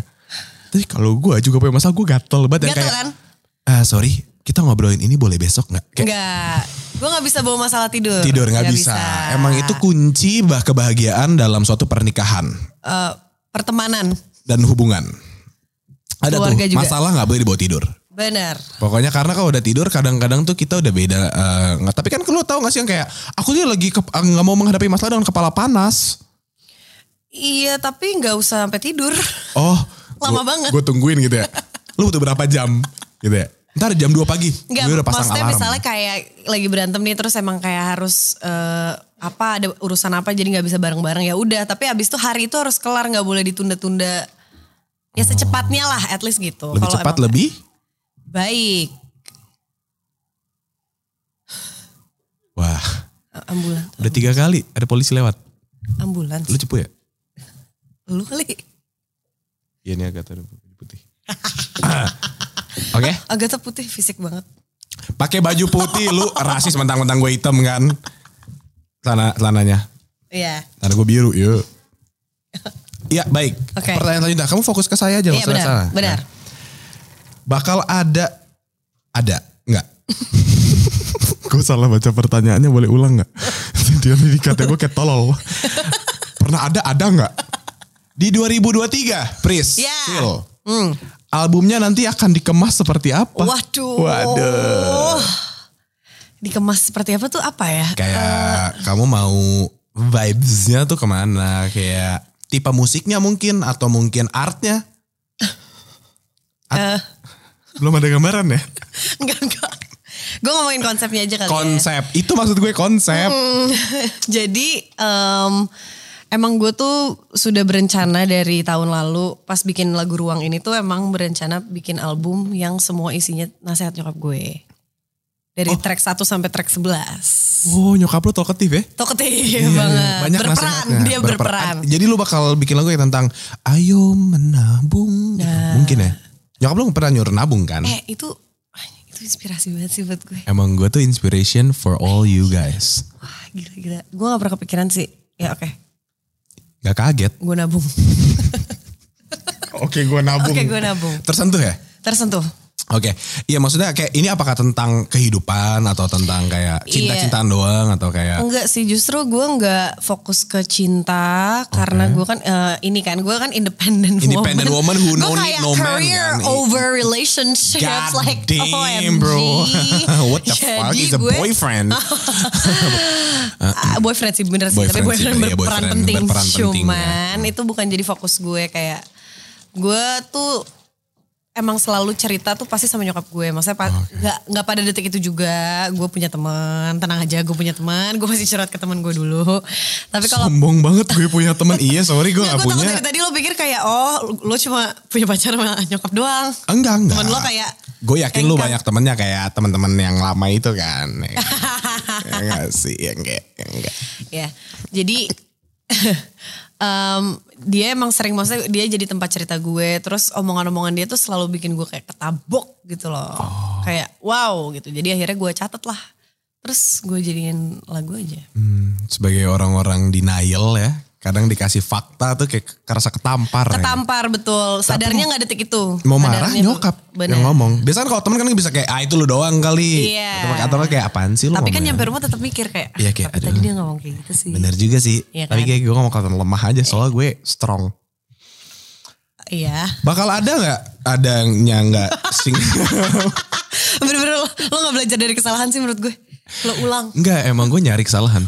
Speaker 1: Tapi kalau gue juga punya masalah gue gatel banget yang
Speaker 2: Gatel
Speaker 1: kayak,
Speaker 2: kan?
Speaker 1: "Ah, sorry, kita ngobrolin ini boleh besok nggak? Kayak
Speaker 2: Enggak, gue nggak bisa bawa masalah tidur.
Speaker 1: tidur nggak bisa. Emang itu kunci bah kebahagiaan dalam suatu pernikahan
Speaker 2: Eh, pertemanan,
Speaker 1: dan hubungan. Ada
Speaker 2: Keluarga
Speaker 1: tuh
Speaker 2: juga.
Speaker 1: masalah nggak boleh dibawa tidur.
Speaker 2: benar.
Speaker 1: Pokoknya karena kalau udah tidur kadang-kadang tuh kita udah beda. eh, nggak- tapi kan lu tahu gak sih yang kayak aku tuh lagi ke- eh, nggak mau menghadapi masalah dengan kepala panas.
Speaker 2: Iya, tapi nggak usah sampai tidur.
Speaker 1: Oh,
Speaker 2: Lama banget.
Speaker 1: Gue tungguin gitu ya. Lu butuh berapa jam gitu ya. Ntar jam 2 pagi,
Speaker 2: Enggak,
Speaker 1: gue udah pasang
Speaker 2: maksudnya
Speaker 1: alarm.
Speaker 2: misalnya kayak lagi berantem nih terus emang kayak harus eh, apa ada urusan apa jadi nggak bisa bareng-bareng ya udah. Tapi abis itu hari itu harus kelar nggak boleh ditunda-tunda. Ya secepatnya lah, at least gitu.
Speaker 1: lebih
Speaker 2: Kalau
Speaker 1: cepat
Speaker 2: emang-
Speaker 1: lebih.
Speaker 2: Baik,
Speaker 1: Wah,
Speaker 2: Eh, ambulan,
Speaker 1: udah tiga kali ada polisi lewat.
Speaker 2: ambulans.
Speaker 1: Lu cepu ya?
Speaker 2: Lu kali
Speaker 1: Iya ini agak ada putih. Oke,
Speaker 2: agak putih fisik banget.
Speaker 1: pakai baju putih lu rasis mentang-mentang gue hitam kan. Celana celananya.
Speaker 2: Iya.
Speaker 1: Karena gue biru, yuk. Iya, baik.
Speaker 2: Oke.
Speaker 1: Pertanyaan selanjutnya, kamu fokus ke saya aja.
Speaker 2: Iya
Speaker 1: nggak usah
Speaker 2: benar,
Speaker 1: sana.
Speaker 2: benar.
Speaker 1: Nah, bakal ada, ada, enggak? gue salah baca pertanyaannya, boleh ulang nggak? Dia ini kata gue kayak tolol. Pernah ada, ada nggak? Di 2023, Pris,
Speaker 2: Ya.
Speaker 1: Sil, albumnya nanti akan dikemas seperti apa?
Speaker 2: Waduh.
Speaker 1: Waduh.
Speaker 2: Dikemas seperti apa tuh apa ya?
Speaker 1: Kayak kamu mau vibes-nya tuh kemana? Kayak tipe musiknya mungkin atau mungkin artnya?
Speaker 2: Eh.
Speaker 1: Art- Belum ada gambaran ya?
Speaker 2: Enggak, enggak. Gue ngomongin konsepnya aja kali ya.
Speaker 1: Konsep, itu maksud gue konsep.
Speaker 2: Jadi em, emang gue tuh sudah berencana dari tahun lalu pas bikin lagu Ruang ini tuh emang berencana bikin album yang semua isinya nasihat nyokap gue. Dari track 1 sampai track 11.
Speaker 1: Oh nyokap lu talkative ya? iya.
Speaker 2: Toketif Iya banget. berperan,
Speaker 1: nasihatnya. Iya,
Speaker 2: dia berperan.
Speaker 1: Jadi lu bakal bikin lagu yang tentang Ayo menabung. Mungkin ya? Nyokap lu pernah nyuruh nabung kan?
Speaker 2: Nah. Eh itu, itu inspirasi banget sih buat gue.
Speaker 1: Emang gue tuh inspiration for all you guys.
Speaker 2: Wah gila-gila. Gue gak pernah kepikiran sih. Ya oke,
Speaker 1: Gak kaget.
Speaker 2: gue nabung.
Speaker 1: Oke gue nabung.
Speaker 2: Oke, gue nabung.
Speaker 1: Tersentuh ya?
Speaker 2: Tersentuh.
Speaker 1: Oke, iya maksudnya kayak ini apakah tentang kehidupan atau tentang kayak
Speaker 2: Iya.
Speaker 1: cinta-cintaan doang atau kayak
Speaker 2: Enggak sih, justru gue nggak fokus ke cinta karena gue kan eh, ini kan gue kan independent,
Speaker 1: Independent woman who
Speaker 2: Gue
Speaker 1: no need
Speaker 2: kayak
Speaker 1: no man,
Speaker 2: career
Speaker 1: kan?
Speaker 2: over relationships
Speaker 1: God
Speaker 2: like
Speaker 1: damn
Speaker 2: OMG.
Speaker 1: bro, what the fuck
Speaker 2: Jadi
Speaker 1: is a
Speaker 2: gue-
Speaker 1: boyfriend?
Speaker 2: Ah, boyfriend sih bener sih, tapi
Speaker 1: Boyfriend sih, iya,
Speaker 2: boyfriend
Speaker 1: boyfriend
Speaker 2: berperan penting.
Speaker 1: berperan penting, iya.
Speaker 2: Cuman itu bukan jadi fokus gue kayak gue tuh emang selalu cerita tuh pasti sama nyokap gue. Maksudnya pa-
Speaker 1: Oh,
Speaker 2: nggak nggak pada detik itu juga gue punya teman, tenang aja gue punya teman, gue masih curhat ke teman gue dulu. Tapi kalau
Speaker 1: Sombong banget gue punya teman. iya sorry gue
Speaker 2: Nggak,
Speaker 1: gak
Speaker 2: gue takut
Speaker 1: punya.
Speaker 2: dari tadi lo pikir kayak oh lo cuma punya pacar sama nyokap doang.
Speaker 1: Enggak enggak.
Speaker 2: Temen lo kayak
Speaker 1: Gue yakin lu
Speaker 2: engkang.
Speaker 1: banyak temennya kayak teman-teman yang lama itu kan. Ya kan? Ya enggak sih, ya enggak, ya enggak.
Speaker 2: Ya, jadi em, dia emang sering maksudnya dia jadi tempat cerita gue. Terus omongan-omongan dia tuh selalu bikin gue kayak ketabok gitu loh.
Speaker 1: Oh.
Speaker 2: Kayak wow gitu. Jadi akhirnya gue catat lah. Terus gue jadiin lagu aja.
Speaker 1: Hmm, Sebagai orang-orang denial ya, kadang dikasih fakta tuh kayak kerasa ketampar. ya.
Speaker 2: Ketampar betul. Sadarnya nggak detik itu.
Speaker 1: mau marah
Speaker 2: Sadarnya tuh-
Speaker 1: nyokap
Speaker 2: Bener.
Speaker 1: yang ngomong. Biasanya kalau temen kan bisa kayak ah itu lu doang kali.
Speaker 2: Iya.
Speaker 1: Atau, atau nggak kayak apaan sih lu
Speaker 2: Tapi kan
Speaker 1: ngomongnya?"
Speaker 2: nyampe rumah tetap mikir kayak.
Speaker 1: Iya, kayak,
Speaker 2: "Tapi tadi
Speaker 1: aduh.
Speaker 2: dia ngomong kayak gitu sih.
Speaker 1: Bener juga sih.
Speaker 2: Iya
Speaker 1: Tapi
Speaker 2: kan?
Speaker 1: kayak gue ngomong kata lemah aja soalnya gue strong.
Speaker 2: Iya.
Speaker 1: Bakal ada nggak ada yang nggak sing?
Speaker 2: Bener-bener lo, lo gak belajar dari kesalahan sih menurut gue. Lo ulang. Oh.
Speaker 1: Enggak, emang gue nyari kesalahan.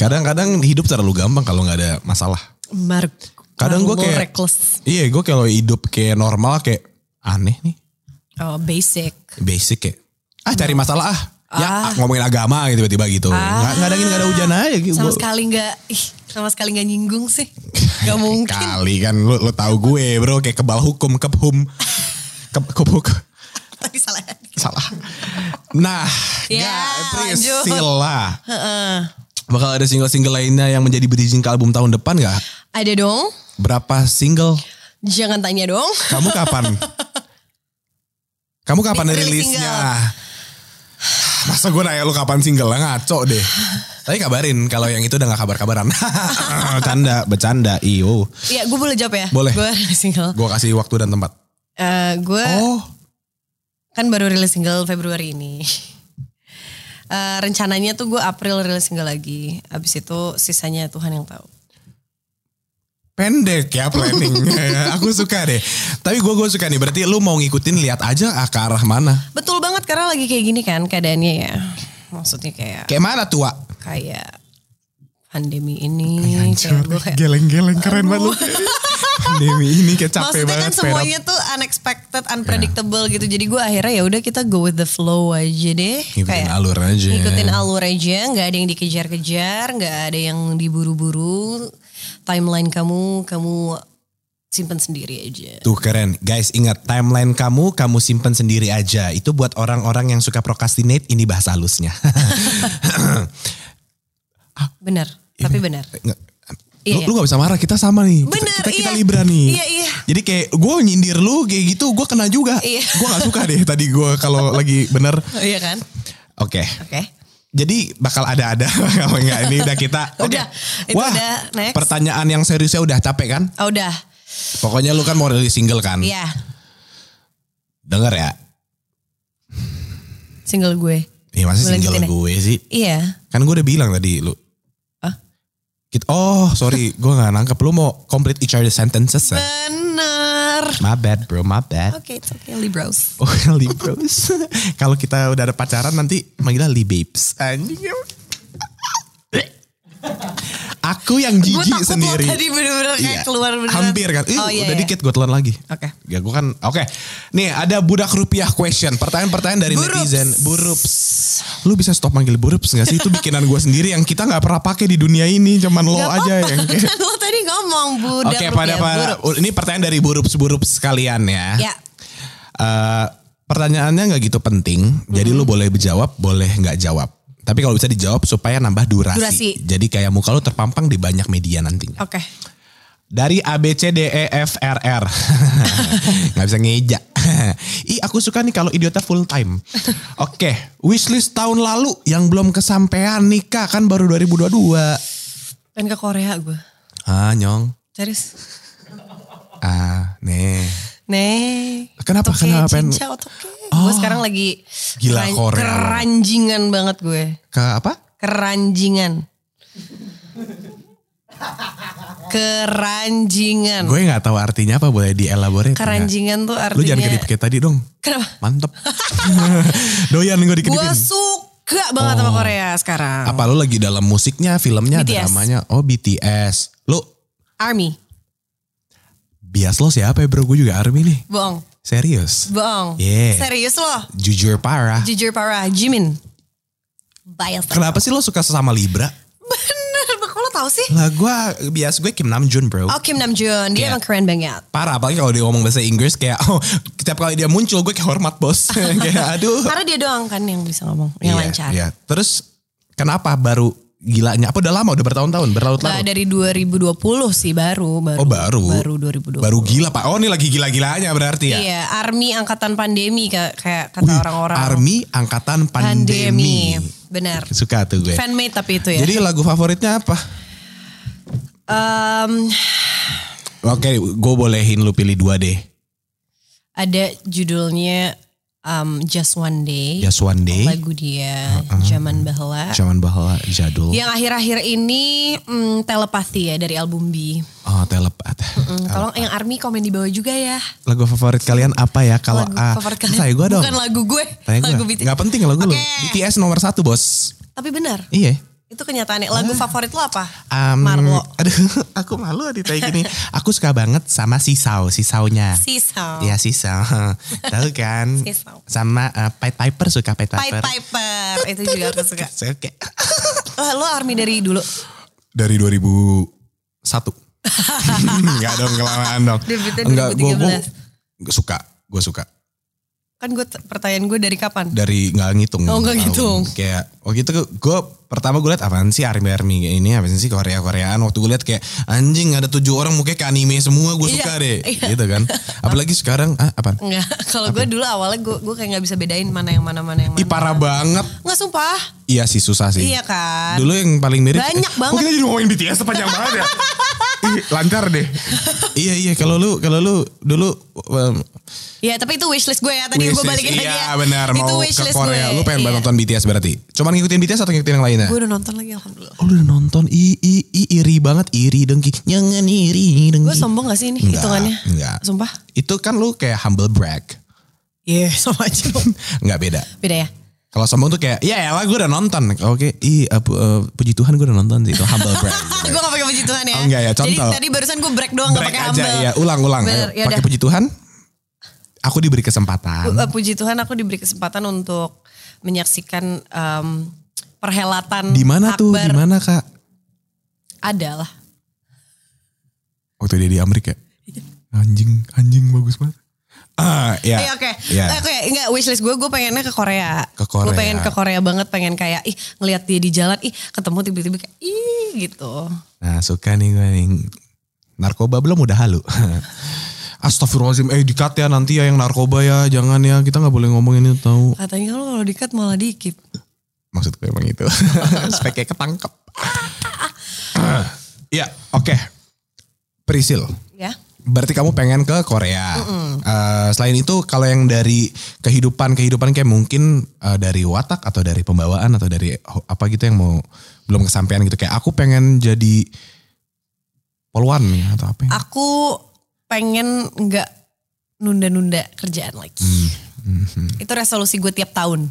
Speaker 1: Kadang-kadang hidup terlalu gampang kalau nggak ada masalah.
Speaker 2: Mark.
Speaker 1: Kadang gue
Speaker 2: Marlo
Speaker 1: kayak
Speaker 2: reckless.
Speaker 1: Iya, gue kalau hidup kayak normal kayak aneh nih,
Speaker 2: Oh, basic.
Speaker 1: basic kayak ah cari masalah ah. Ya ah, ngomongin agama gitu tiba-tiba gitu. Nggak nggak ada angin, nggak ada hujan aja gitu.
Speaker 2: Ah, Sama
Speaker 1: Gua-
Speaker 2: sekali nggak, ih, sama sekali nggak nyinggung sih. Gak mungkin.
Speaker 1: Kali kan lu, lu tahu gue, Bro, kayak kebal hukum, kephum. Ke, kebuk.
Speaker 2: Tapi salah.
Speaker 1: Salah. Nah,
Speaker 2: Ya,
Speaker 1: Ga-
Speaker 2: lanjut.
Speaker 1: Priscilla. Bakal ada single-single lainnya yang menjadi bridging ke album tahun depan gak?
Speaker 2: Ada dong.
Speaker 1: Berapa single?
Speaker 2: Jangan tanya dong.
Speaker 1: Kamu kapan? Kamu kapan
Speaker 2: Rilis
Speaker 1: rilisnya? Masa gue nanya lu kapan single lah ngaco deh. Tapi kabarin kalau yang itu udah gak kabar-kabaran. Canda, bercanda, iyo.
Speaker 2: Ya, gue boleh jawab ya?
Speaker 1: Boleh.
Speaker 2: Gue rilis single.
Speaker 1: Gue kasih waktu dan tempat.
Speaker 2: Eh, gue
Speaker 1: Oh,
Speaker 2: kan baru rilis single Februari ini. Eh, rencananya tuh gue April rilis single lagi. Abis itu sisanya Tuhan yang tahu.
Speaker 1: pendek ya planningnya. Aku suka deh. Tapi gue gue suka nih. Berarti lu mau ngikutin lihat aja ah, ke arah mana?
Speaker 2: Betul banget karena lagi kayak gini kan keadaannya ya. Maksudnya kayak
Speaker 1: Kayak mana tua?
Speaker 2: kayak pandemi ini kayak gue kayak
Speaker 1: Geleng-geleng keren banget lu. Demi ini kayak capek
Speaker 2: Maksudnya
Speaker 1: banget.
Speaker 2: kan semuanya tuh unexpected, unpredictable gitu. Jadi gue akhirnya ya udah kita go with the flow aja deh.
Speaker 1: Ngikutin alur aja.
Speaker 2: Ngikutin alur aja, nggak ada yang dikejar-kejar, nggak ada yang diburu-buru. Timeline kamu, kamu simpen sendiri aja.
Speaker 1: Tuh keren. Guys ingat timeline kamu kamu simpen sendiri aja. Itu buat orang-orang yang suka procrastinate ini bahasa halusnya.
Speaker 2: Benar, tapi benar.
Speaker 1: Nggak.
Speaker 2: Iya.
Speaker 1: Lu, lu gak bisa marah kita sama nih Kita-
Speaker 2: Bener,
Speaker 1: kita, kita
Speaker 2: iya.
Speaker 1: libra nih
Speaker 2: Iya, iya.
Speaker 1: jadi kayak gue nyindir lu kayak gitu gue kena juga
Speaker 2: Iya.
Speaker 1: gue gak suka deh tadi gue kalau lagi bener
Speaker 2: Iya kan?
Speaker 1: oke
Speaker 2: Oke.
Speaker 1: Jadi bakal ada-ada kalau enggak ini udah kita. Oke.
Speaker 2: Udah, itu
Speaker 1: Wah,
Speaker 2: udah, next.
Speaker 1: pertanyaan yang seriusnya udah capek kan?
Speaker 2: Oh, udah,
Speaker 1: Pokoknya lu kan mau rilis single kan?
Speaker 2: iya.
Speaker 1: Dengar ya.
Speaker 2: Single gue.
Speaker 1: Ya masih
Speaker 2: Boleh
Speaker 1: single
Speaker 2: lanjutin ya?
Speaker 1: gue sih.
Speaker 2: Iya.
Speaker 1: Kan gue udah bilang tadi lu.
Speaker 2: Hah?
Speaker 1: Kita, oh sorry gue gak nangkep. Lu mau complete each other sentences. ya?
Speaker 2: Benar.
Speaker 1: My bad bro, my bad.
Speaker 2: Oke, it's okay, Libros.
Speaker 1: Oh, li bros. Kalau kita udah ada pacaran nanti manggilnya li babes. Anjing. ya. em- Aku yang
Speaker 2: Gue
Speaker 1: jijik
Speaker 2: takut
Speaker 1: sendiri.
Speaker 2: lo tadi bener-bener kayak
Speaker 1: Iya.
Speaker 2: keluar beneran.
Speaker 1: Hampir kan. Ih,
Speaker 2: Oh iya,
Speaker 1: udah
Speaker 2: iya.
Speaker 1: dikit gue telan lagi.
Speaker 2: Oke.
Speaker 1: Ya gue kan oke. Nih ada budak rupiah question. Pertanyaan-pertanyaan dari
Speaker 2: Burups.
Speaker 1: netizen. Burups. Lu bisa stop manggil burups gak sih? Itu bikinan gue sendiri yang kita gak pernah pakai di dunia ini. Cuman lo
Speaker 2: Gak
Speaker 1: aja
Speaker 2: apa-apa,
Speaker 1: yang kayak.
Speaker 2: kan lo tadi ngomong budak
Speaker 1: Oke pada
Speaker 2: rupiah,
Speaker 1: para
Speaker 2: buruk.
Speaker 1: ini pertanyaan dari burups-burups sekalian ya.
Speaker 2: Ya.
Speaker 1: Eh, pertanyaannya nggak gitu penting. Jadi lu boleh jawab, boleh nggak jawab. Tapi kalau bisa dijawab supaya nambah durasi.
Speaker 2: Durasi. Oh.
Speaker 1: Jadi kayak muka lu terpampang di banyak media nantinya.
Speaker 2: Oke.
Speaker 1: Dari A B C D E F R R. Gak bisa ngeja. Ih aku suka nih kalau idiota full time. Oke, wishlist tahun lalu yang belum kesampaian nikah kan baru 2022.
Speaker 2: Kan ke Korea gue.
Speaker 1: Ah nyong.
Speaker 2: Serius.
Speaker 1: Ah, nih.
Speaker 2: Nih.
Speaker 1: Kenapa?
Speaker 2: Otoke,
Speaker 1: Kenapa pengen- Oh.
Speaker 2: Cinca, otoke. Gue sekarang lagi
Speaker 1: Gila, Korea.
Speaker 2: keranjingan banget gue.
Speaker 1: Ke apa?
Speaker 2: Keranjingan. keranjingan.
Speaker 1: Gue nggak tahu artinya apa, boleh dielaborate nggak?
Speaker 2: keranjingan tuh
Speaker 1: Lu jangan
Speaker 2: artinya.
Speaker 1: kedip kayak tadi dong.
Speaker 2: Kenapa?
Speaker 1: Mantep. Doyan gue
Speaker 2: Gue
Speaker 1: dikedipin.
Speaker 2: suka banget
Speaker 1: Oh.
Speaker 2: sama Korea sekarang.
Speaker 1: Apa lu lagi dalam musiknya, filmnya,
Speaker 2: BTS.
Speaker 1: dramanya? Oh BTS. Lu
Speaker 2: Army.
Speaker 1: bias lo siapa ya bro? Gue juga ARMY nih.
Speaker 2: Bohong.
Speaker 1: Serius.
Speaker 2: Bohong.
Speaker 1: Yeah.
Speaker 2: Serius loh.
Speaker 1: Jujur parah.
Speaker 2: Jujur parah, Jimin. Bias.
Speaker 1: Kenapa sih lo suka sama Libra?
Speaker 2: Bener, kok lo tau sih?
Speaker 1: Lah gue bias gue Kim Namjoon bro.
Speaker 2: Oh Kim Namjoon, dia
Speaker 1: Iya.
Speaker 2: emang keren banget.
Speaker 1: Parah apalagi kalau dia ngomong bahasa Inggris kayak oh, setiap kali dia muncul gue kayak hormat bos. kayak aduh.
Speaker 2: Karena dia doang kan yang bisa ngomong,
Speaker 1: Iya,
Speaker 2: yang lancar.
Speaker 1: iya. Terus kenapa baru gilanya? Apa udah lama? Udah bertahun-tahun?
Speaker 2: Nah,
Speaker 1: Berlarut-larut?
Speaker 2: dari 2020 sih baru, baru.
Speaker 1: Oh baru.
Speaker 2: Baru 2020.
Speaker 1: Baru gila pak. Oh ini lagi gila-gilanya berarti ya.
Speaker 2: Iya, Army angkatan pandemi ka- kayak kata
Speaker 1: Wih,
Speaker 2: orang-orang.
Speaker 1: Army angkatan pandemi.
Speaker 2: Benar.
Speaker 1: Suka tuh gue.
Speaker 2: Fanmade tapi itu ya.
Speaker 1: Jadi lagu favoritnya apa?
Speaker 2: Em,
Speaker 1: Oke, gue bolehin lu pilih dua deh.
Speaker 2: ada judulnya em, Just One Day.
Speaker 1: Just One Day, Uh-uh.
Speaker 2: Lagu dia Zaman Bahla.
Speaker 1: Zaman Bahwa Jadul,
Speaker 2: Yang akhir-akhir ini mm, telepati ya dari album B.
Speaker 1: oh, Telepat.
Speaker 2: Mm, Tolong yang Army komen di bawah juga ya.
Speaker 1: Lagu favorit kalian apa ya? Kalau
Speaker 2: lagu
Speaker 1: ah,
Speaker 2: favorit kalian.
Speaker 1: Tanya gue dong.
Speaker 2: Bukan lagu gue,
Speaker 1: Tanya gue.
Speaker 2: lagu BTS.
Speaker 1: Nggak penting lagu lu.
Speaker 2: Oke.
Speaker 1: BTS nomor satu bos.
Speaker 2: Tapi benar.
Speaker 1: Iya.
Speaker 2: Itu kenyataannya. Lagu favorit lo apa?
Speaker 1: Um,
Speaker 2: Marlo.
Speaker 1: Aduh, aku malu Adita kayak gini. Aku suka banget sama sisau, sisaunya.
Speaker 2: Sisau.
Speaker 1: Iya sisau. Tahu kan?
Speaker 2: Sisau.
Speaker 1: Sama uh, Pied Piper suka Pied
Speaker 2: Pied
Speaker 1: Piper.
Speaker 2: Piper. Itu juga aku suka.
Speaker 1: Saya kayak-
Speaker 2: Wah, lo army dari dulu.
Speaker 1: Dari 2001. Enggak dong kelamaan dong.
Speaker 2: Debutnya
Speaker 1: gue
Speaker 2: 2013.
Speaker 1: suka, gue suka.
Speaker 2: Kan gue t- pertanyaan gue dari kapan?
Speaker 1: Dari nggak ngitung.
Speaker 2: Oh, nggak
Speaker 1: tahun.
Speaker 2: ngitung.
Speaker 1: Kayak waktu itu gue pertama gue liat apaan sih army army kayak ini apaan sih Korea Koreaan waktu gue liat kayak anjing ada tujuh orang mukanya ke anime semua gue
Speaker 2: Iya,
Speaker 1: suka deh
Speaker 2: iya.
Speaker 1: gitu kan apalagi sekarang ah apaan
Speaker 2: Enggak. Kalau gue dulu awalnya gue gue kayak nggak bisa bedain mana yang mana mana yang mana.
Speaker 1: Ih parah banget.
Speaker 2: Nggak sumpah.
Speaker 1: Iya sih susah sih.
Speaker 2: Iya kan.
Speaker 1: Dulu yang paling mirip.
Speaker 2: Banyak banget.
Speaker 1: Oh, kita jadi ngomongin BTS sepanjang banget ya. Ih, Lancar deh. iya iya kalau lu kalau lu dulu um,
Speaker 2: Ya tapi itu wishlist gue ya. Tadi gue
Speaker 1: wishlist-
Speaker 2: balikin lagi ya.
Speaker 1: Iya benar
Speaker 2: Itu
Speaker 1: mau ke
Speaker 2: wishlist
Speaker 1: Korea.
Speaker 2: gue.
Speaker 1: Lu pengen
Speaker 2: Iya.
Speaker 1: banget nonton BTS berarti. Cuman ngikutin BTS atau ngikutin yang lainnya?
Speaker 2: Gue udah nonton lagi alhamdulillah.
Speaker 1: Oh, lu udah nonton i i i iri banget iri dengki jangan iri dengki.
Speaker 2: Gue sombong gak sih ini
Speaker 1: Enggak,
Speaker 2: hitungannya?
Speaker 1: enggak.
Speaker 2: Sumpah.
Speaker 1: Itu kan lu kayak humble brag.
Speaker 2: Iya sama aja.
Speaker 1: Enggak beda.
Speaker 2: Beda ya.
Speaker 1: Kalau sombong tuh kayak ya lah gue udah nonton. Oke, i eh, pu- eh, puji Tuhan gue udah nonton sih itu humble brag.
Speaker 2: gue gak pakai puji Tuhan ya.
Speaker 1: Oh, enggak ya,
Speaker 2: Jadi
Speaker 1: contoh.
Speaker 2: tadi barusan gue break doang gak
Speaker 1: Break
Speaker 2: pakai
Speaker 1: aja
Speaker 2: humble.
Speaker 1: ya ulang ulang Ayo,
Speaker 2: Bener, yaudah.
Speaker 1: pakai puji Tuhan aku diberi
Speaker 2: Pu-
Speaker 1: kesempatan
Speaker 2: eh, Puji Tuhan aku diberi kesempatan untuk menyaksikan em, perhelatan
Speaker 1: di mana tuh di
Speaker 2: Akbar.
Speaker 1: mana kak
Speaker 2: Ada lah.
Speaker 1: waktu dia di Amerika anjing anjing bagus banget ah ya
Speaker 2: Iya oke.
Speaker 1: ya
Speaker 2: Oke, enggak wishlist gue gue pengennya ke Korea.
Speaker 1: Ke Korea.
Speaker 2: Gue pengen ke Korea banget, pengen kayak ih ngelihat dia di jalan, ih ketemu tiba-tiba kayak ih gitu.
Speaker 1: nah suka nih gue nih narkoba belum udah halu Astagfirullahaladzim, eh dikat ya nanti ya yang narkoba ya, jangan ya, kita nggak boleh ngomongin itu tahu.
Speaker 2: Katanya lu kalau dikat malah dikit.
Speaker 1: Maksud gue emang itu, supaya kayak ketangkep. ya, oke. Prisil,
Speaker 2: Ya.
Speaker 1: Berarti kamu pengen ke Korea. Eh, selain itu, kalau yang dari kehidupan-kehidupan kayak mungkin eh, dari watak atau dari pembawaan atau dari ho- apa gitu yang mau belum kesampaian gitu kayak aku pengen jadi polwan nih atau apa? ya.
Speaker 2: Aku pengen enggak nunda-nunda kerjaan lagi.
Speaker 1: Mm-hmm.
Speaker 2: Itu resolusi gue tiap tahun.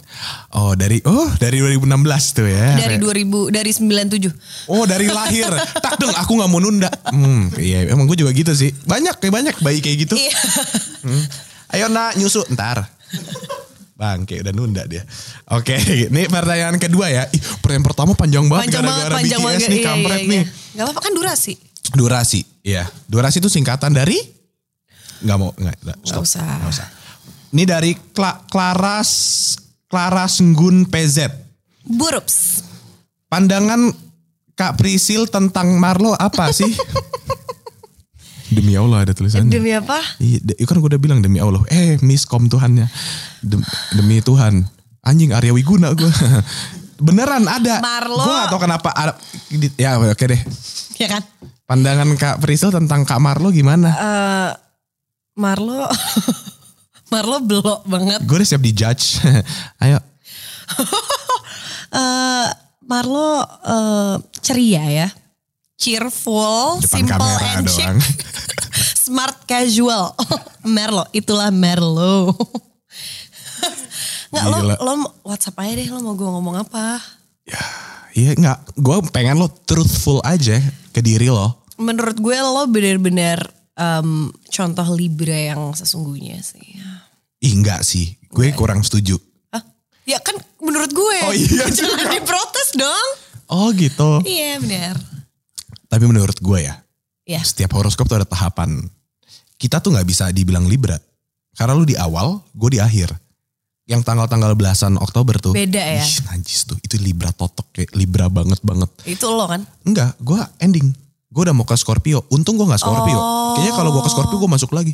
Speaker 1: Oh dari oh dari 2016 tuh ya.
Speaker 2: Dari 2000 dari 97.
Speaker 1: Oh dari lahir. tak dong aku nggak mau nunda. Hmm, iya emang gue juga gitu sih. Banyak kayak banyak bayi kayak gitu.
Speaker 2: Iya.
Speaker 1: Hmm. Ayo nak nyusu ntar. Bangke udah nunda dia. Oke, ini pertanyaan kedua ya. Ih, pertanyaan pertama panjang banget
Speaker 2: Panjang banget,
Speaker 1: oh, gara-gara
Speaker 2: panjang
Speaker 1: BTS
Speaker 2: banget. Iya,
Speaker 1: nih, kampret nih.
Speaker 2: Gak apa-apa kan durasi.
Speaker 1: Durasi, iya. Durasi itu singkatan dari? Nggak mau, nggak, nggak, stop.
Speaker 2: usah.
Speaker 1: Nggak usah. Ini dari Kla, Klaras, Klaras Nggun PZ.
Speaker 2: Burups.
Speaker 1: Pandangan Kak Prisil tentang Marlo apa sih? Demi Allah ada tulisannya.
Speaker 2: Demi apa?
Speaker 1: Iya, de- kan gue udah bilang demi Allah. Eh, miskom Tuhannya. Dem- demi Tuhan. Anjing Arya Wiguna gue. Beneran ada.
Speaker 2: Marlo-
Speaker 1: Gue gak tau kenapa. ada- di- ya oke deh.
Speaker 2: Ya kan?
Speaker 1: Pandangan Kak Priscil tentang Kak Marlo gimana?
Speaker 2: Eh. Marlo Marlo belok banget.
Speaker 1: gue udah siap dijudge. Ayo.
Speaker 2: eh Marlo eh, ceria ya. Cheerful,
Speaker 1: Depan
Speaker 2: simple
Speaker 1: kamera
Speaker 2: and chic.
Speaker 1: doang.
Speaker 2: Smart casual. Merlo, itulah Merlo. Nggak, lo,
Speaker 1: Gila.
Speaker 2: lo WhatsApp aja deh, lo mau gue ngomong apa.
Speaker 1: Iya gak. Gue pengen lo truthful aja ke diri lo.
Speaker 2: Menurut gue lo bener-bener em, contoh Libra yang sesungguhnya sih.
Speaker 1: Ih enggak sih.
Speaker 2: Iya,
Speaker 1: Gue kurang setuju.
Speaker 2: Hah? Ya kan menurut gue.
Speaker 1: Oh iya juga.
Speaker 2: Jangan diprotes dong.
Speaker 1: Oh gitu.
Speaker 2: Iya bener.
Speaker 1: Tapi menurut gue ya.
Speaker 2: Ya.
Speaker 1: setiap horoskop tuh ada tahapan. Kita tuh nggak bisa dibilang Libra. Karena lu di awal, gue di akhir. Yang tanggal-tanggal belasan Oktober tuh.
Speaker 2: Beda ya?
Speaker 1: Ih, najis tuh. Itu Libra totok kayak Libra banget-banget.
Speaker 2: Itu lo kan.
Speaker 1: Enggak, gue ending. Gue udah mau ke Scorpio. Untung gue gak
Speaker 2: Oh.
Speaker 1: Scorpio. Kayaknya kalau gue ke Scorpio gue masuk lagi.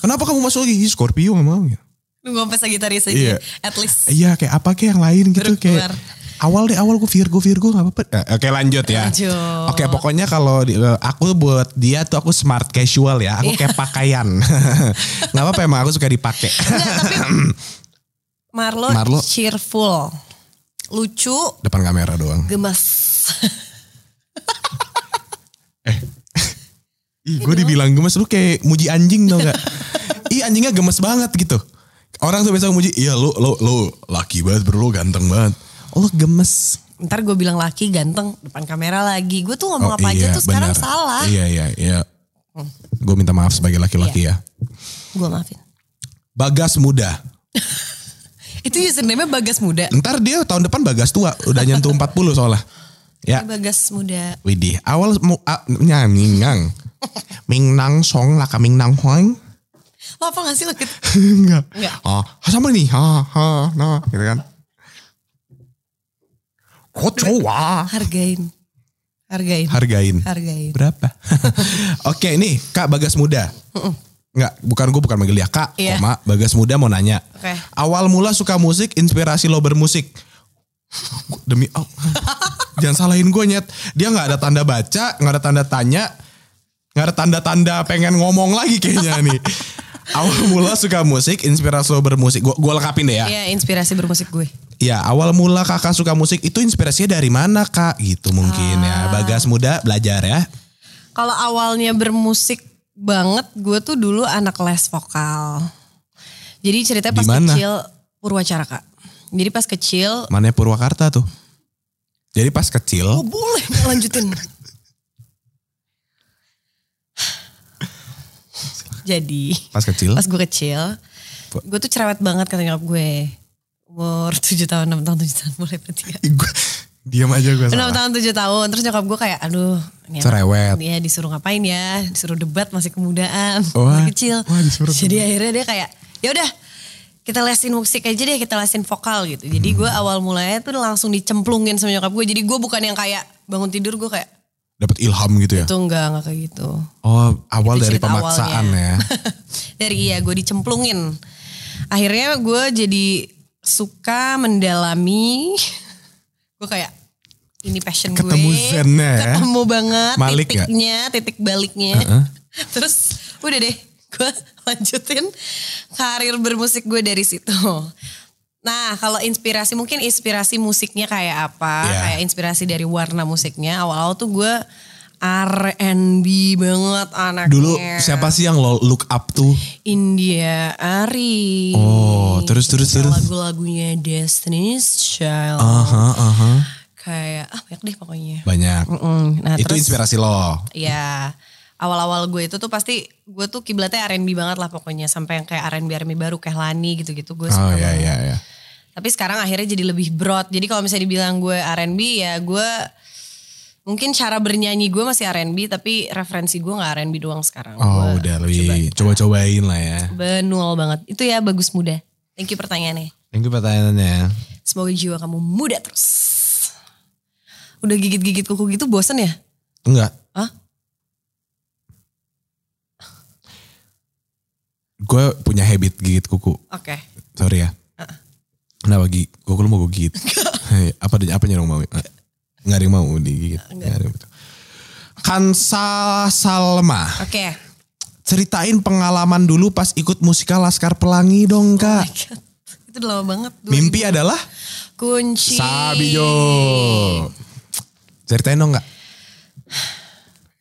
Speaker 1: Kenapa kamu masuk lagi? Ih, Scorpio gak mau. gitu.
Speaker 2: Lu gue sampai Sagittarius aja.
Speaker 1: Iya.
Speaker 2: At least.
Speaker 1: Iya kayak apa kayak yang lain gitu.
Speaker 2: Baru
Speaker 1: Kayak
Speaker 2: keluar.
Speaker 1: awal deh awal gue Virgo Virgo gak apa-apa. Eh, Oke lanjut ya.
Speaker 2: Lanjut.
Speaker 1: Oke pokoknya kalau di- eh, aku buat dia tuh aku smart casual ya. Aku
Speaker 2: Iya.
Speaker 1: kayak pakaian. Gak apa-apa emang aku suka dipakai.
Speaker 2: Enggak, tapi Marlo,
Speaker 1: Marlo.
Speaker 2: cheerful. Lucu,
Speaker 1: Depan kamera doang.
Speaker 2: gemes.
Speaker 1: Ih gue dibilang gemes lu kayak muji anjing tau gak. Ih anjingnya gemes banget gitu. Orang tuh biasa muji. Iya lu, lu, lu laki banget bro lu ganteng banget. Oh, lu gemes.
Speaker 2: ntar gue bilang laki ganteng depan kamera lagi. Gue tuh ngomong
Speaker 1: Oh,
Speaker 2: apa
Speaker 1: iya,
Speaker 2: aja tuh sekarang
Speaker 1: benar.
Speaker 2: salah. Hmm.
Speaker 1: Iya iya iya. Gue minta maaf sebagai laki-laki ya.
Speaker 2: Iya. Gue maafin.
Speaker 1: Bagas muda.
Speaker 2: Itu username-nya Bagas Muda.
Speaker 1: Ntar dia tahun depan bagas tua udah nyentuh 40 soalnya. Ya.
Speaker 2: Bagas Muda.
Speaker 1: Widih, awal mau ah, nyanyi ngang. Ming nang song lah kaming nang hoing.
Speaker 2: Lo apa gak sih lo gitu?
Speaker 1: Enggak.
Speaker 2: Enggak.
Speaker 1: Oh, sama nih. Ha ha nah gitu kan. Kocowa.
Speaker 2: Hargain. Hargain.
Speaker 1: Hargain.
Speaker 2: Hargain.
Speaker 1: Berapa? Oke, nih Kak Bagas Muda. Enggak, bukan gue bukan manggil dia Kak,
Speaker 2: Iya.
Speaker 1: koma Bagas Muda mau nanya.
Speaker 2: Oke.
Speaker 1: Awal mula suka musik, inspirasi lo bermusik. Demi Allah. Jangan salahin gue nyet. Dia nggak ada tanda baca, nggak ada tanda tanya, nggak ada tanda-tanda pengen ngomong lagi kayaknya nih. Awal mula suka musik, inspirasi lo bermusik. Gue gue lengkapin deh ya.
Speaker 2: Iya inspirasi bermusik gue.
Speaker 1: Ya awal mula kakak suka musik itu inspirasinya dari mana kak? Gitu mungkin
Speaker 2: Ah.
Speaker 1: ya. Bagas muda belajar ya.
Speaker 2: Kalau awalnya bermusik banget, gue tuh dulu anak les vokal. Jadi ceritanya pas
Speaker 1: Di mana?
Speaker 2: kecil Purwacaraka. Jadi pas kecil,
Speaker 1: Mana Purwakarta tuh. Jadi pas
Speaker 2: oh
Speaker 1: kecil,
Speaker 2: boleh nggak lanjutin. Jadi
Speaker 1: pas kecil,
Speaker 2: pas gue kecil, gue tuh cerewet banget kata nyokap gue. Umur 7 tahun, 6 tahun, 7 tahun boleh berarti ya.
Speaker 1: Gua- diam aja gue
Speaker 2: 6
Speaker 1: salah.
Speaker 2: tahun 7 tahun terus nyokap gue kayak aduh ini anak-
Speaker 1: Cerewet.
Speaker 2: Iya disuruh ngapain ya disuruh debat masih kemudaan
Speaker 1: Wah.
Speaker 2: masih kecil
Speaker 1: Wah, disuruh
Speaker 2: jadi akhirnya dia kayak ya udah kita lesin musik aja deh kita lesin vokal gitu jadi
Speaker 1: Hmm.
Speaker 2: gue awal mulanya tuh langsung dicemplungin sama nyokap gue jadi gue bukan yang kayak bangun tidur gue kayak
Speaker 1: Dapat ilham gitu ya.
Speaker 2: tuh enggak enggak kayak gitu
Speaker 1: Oh awal
Speaker 2: Itu
Speaker 1: dari
Speaker 2: cerita
Speaker 1: pemaksaan
Speaker 2: awalnya.
Speaker 1: ya.
Speaker 2: dari iya gue dicemplungin akhirnya gue jadi suka mendalami gue kayak ini passion
Speaker 1: Ketemu
Speaker 2: gue
Speaker 1: zennya ya.
Speaker 2: ketemu banget
Speaker 1: Malik nggak?
Speaker 2: titiknya titik baliknya terus udah deh gue lanjutin karir bermusik gue dari situ nah kalau inspirasi mungkin inspirasi musiknya kayak apa
Speaker 1: Iya.
Speaker 2: kayak inspirasi dari warna musiknya awal-awal tuh gue R&B banget anaknya
Speaker 1: Dulu siapa sih yang lo look up tuh?
Speaker 2: India Ari.
Speaker 1: Oh, terus, terus, terus. Ah.
Speaker 2: Lagu-lagunya Destiny's Child.
Speaker 1: Aha, aha.
Speaker 2: Kayak ah banyak deh pokoknya.
Speaker 1: Banyak.
Speaker 2: Mm, Nah,
Speaker 1: Itu
Speaker 2: terus
Speaker 1: inspirasi lo.
Speaker 2: ya awal-awal gue itu tuh pasti gue tuh kiblatnya R&B banget lah pokoknya sampai yang kayak R&B R&B baru Kehlani gitu-gitu
Speaker 1: Oh
Speaker 2: gue suka
Speaker 1: iya
Speaker 2: banget.
Speaker 1: iya iya.
Speaker 2: Tapi sekarang akhirnya jadi lebih broad. Jadi kalau misalnya dibilang gue R&B ya gue mungkin cara bernyanyi gue masih R&B tapi referensi gue nggak R&B doang
Speaker 1: Oh
Speaker 2: sekarang. Gue
Speaker 1: udah lebih coba-cobain lah ya.
Speaker 2: Benul banget. Itu ya bagus muda. Thank you pertanyaannya.
Speaker 1: Thank you pertanyaannya.
Speaker 2: Semoga jiwa kamu muda terus. Udah gigit-gigit kuku gitu bosen ya?
Speaker 1: Enggak.
Speaker 2: Hah?
Speaker 1: Gue punya habit gigit kuku.
Speaker 2: Oke.
Speaker 1: Sorry ya. Kenapa gigit? Kuku lu mau gue gigit? Hei, apa apa dong mau? Enggak ada yang mau digigit. Enggak ada yang mau. Kansa Salma.
Speaker 2: Oke.
Speaker 1: Ceritain pengalaman dulu pas ikut musikal Laskar Pelangi dong
Speaker 2: Oh
Speaker 1: kak.
Speaker 2: Itu udah lama banget. Dua
Speaker 1: Mimpi adalah?
Speaker 2: ribu. Kunci.
Speaker 1: Sabio. Ceritain dong kak.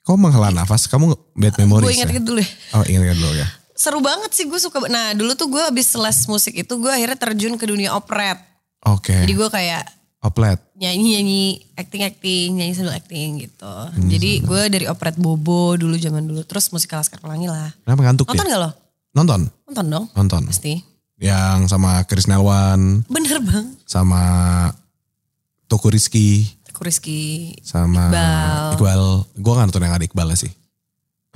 Speaker 1: Kok menghela nafas? Kamu nge- bad memories
Speaker 2: Gue ingat-ingat
Speaker 1: ya?
Speaker 2: dulu ya.
Speaker 1: Oh ingat-ingat dulu ya.
Speaker 2: Seru banget sih gue suka. Nah dulu tuh gue abis les musik itu gue akhirnya terjun ke dunia operet.
Speaker 1: Oke.
Speaker 2: Jadi gue kayak
Speaker 1: Oplet.
Speaker 2: nyanyi-nyanyi, acting-acting, nyanyi sambil acting gitu.
Speaker 1: Hmm.
Speaker 2: Jadi gue dari operet Bobo dulu zaman dulu. Terus musikal Laskar Pelangi lah.
Speaker 1: Kenapa ngantuk
Speaker 2: Nonton
Speaker 1: ya?
Speaker 2: gak lo?
Speaker 1: Nonton.
Speaker 2: Nonton dong.
Speaker 1: Nonton.
Speaker 2: Pasti.
Speaker 1: Yang sama Chris Nelwan.
Speaker 2: Bener bang.
Speaker 1: Sama Tuku Rizky.
Speaker 2: Teguh Rizky.
Speaker 1: Sama
Speaker 2: Iqbal.
Speaker 1: Iqbal. Gue gak nonton yang ada Iqbalnya sih.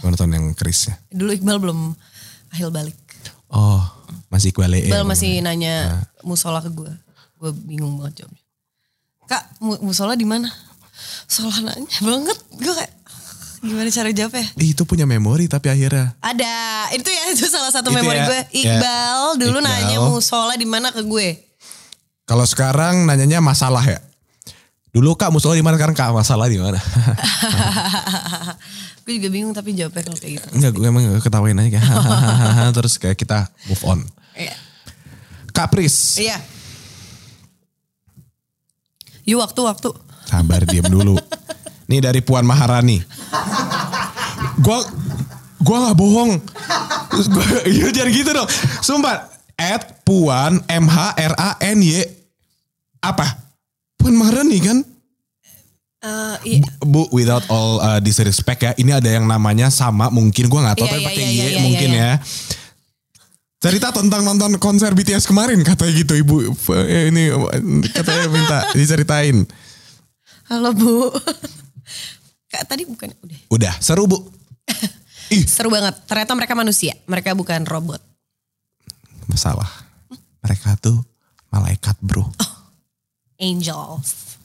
Speaker 1: Gue nonton yang ya. Chrisnya.
Speaker 2: Dulu Iqbal belum ahil balik.
Speaker 1: Oh masih Iqbal E.
Speaker 2: Iqbal masih nanya musola ke gue. Gue bingung banget jawabnya. Kak, mu- musola di mana? Musola nanya banget. Gue kayak gimana cara jawabnya?
Speaker 1: Ih, itu punya memori tapi akhirnya
Speaker 2: Ada, itu ya itu salah satu
Speaker 1: Itu
Speaker 2: memori
Speaker 1: ya,
Speaker 2: gue.
Speaker 1: ya.
Speaker 2: Iqbal dulu
Speaker 1: Iqbal.
Speaker 2: nanya musola di mana ke gue.
Speaker 1: Kalau sekarang nanyanya masalah ya. Dulu kak musola di mana sekarang kak masalah di mana?
Speaker 2: gue juga bingung tapi jawabnya kalau kayak gitu.
Speaker 1: Enggak, gue emang ketawain aja kayak hahaha, terus kayak kita move on.
Speaker 2: Iya.
Speaker 1: Kak Pris,
Speaker 2: Iya. Yuk waktu-waktu.
Speaker 1: sabar diam dulu. Nih dari Puan Maharani. Gua gua nggak bohong. Gua- Iya jangan gitu dong. Sumpah. At Puan M H R A N Y apa? Puan Maharani kan?
Speaker 2: Eh, iya.
Speaker 1: Bu, without all uh, disrespect ya, ini ada yang namanya sama mungkin gua nggak tahu
Speaker 2: Iya,
Speaker 1: tapi
Speaker 2: iya,
Speaker 1: pakai Y
Speaker 2: iya, iya, iya,
Speaker 1: mungkin
Speaker 2: iya.
Speaker 1: ya. Cerita tentang nonton konser BTS kemarin katanya gitu ibu F- eh, ini katanya minta diceritain.
Speaker 2: Halo Bu. Kak, tadi bukan udah.
Speaker 1: Udah seru bu.
Speaker 2: Seru banget. Ternyata mereka manusia, mereka bukan robot.
Speaker 1: Salah. Mereka tuh malaikat
Speaker 2: Oh,
Speaker 1: bro.
Speaker 2: Angels.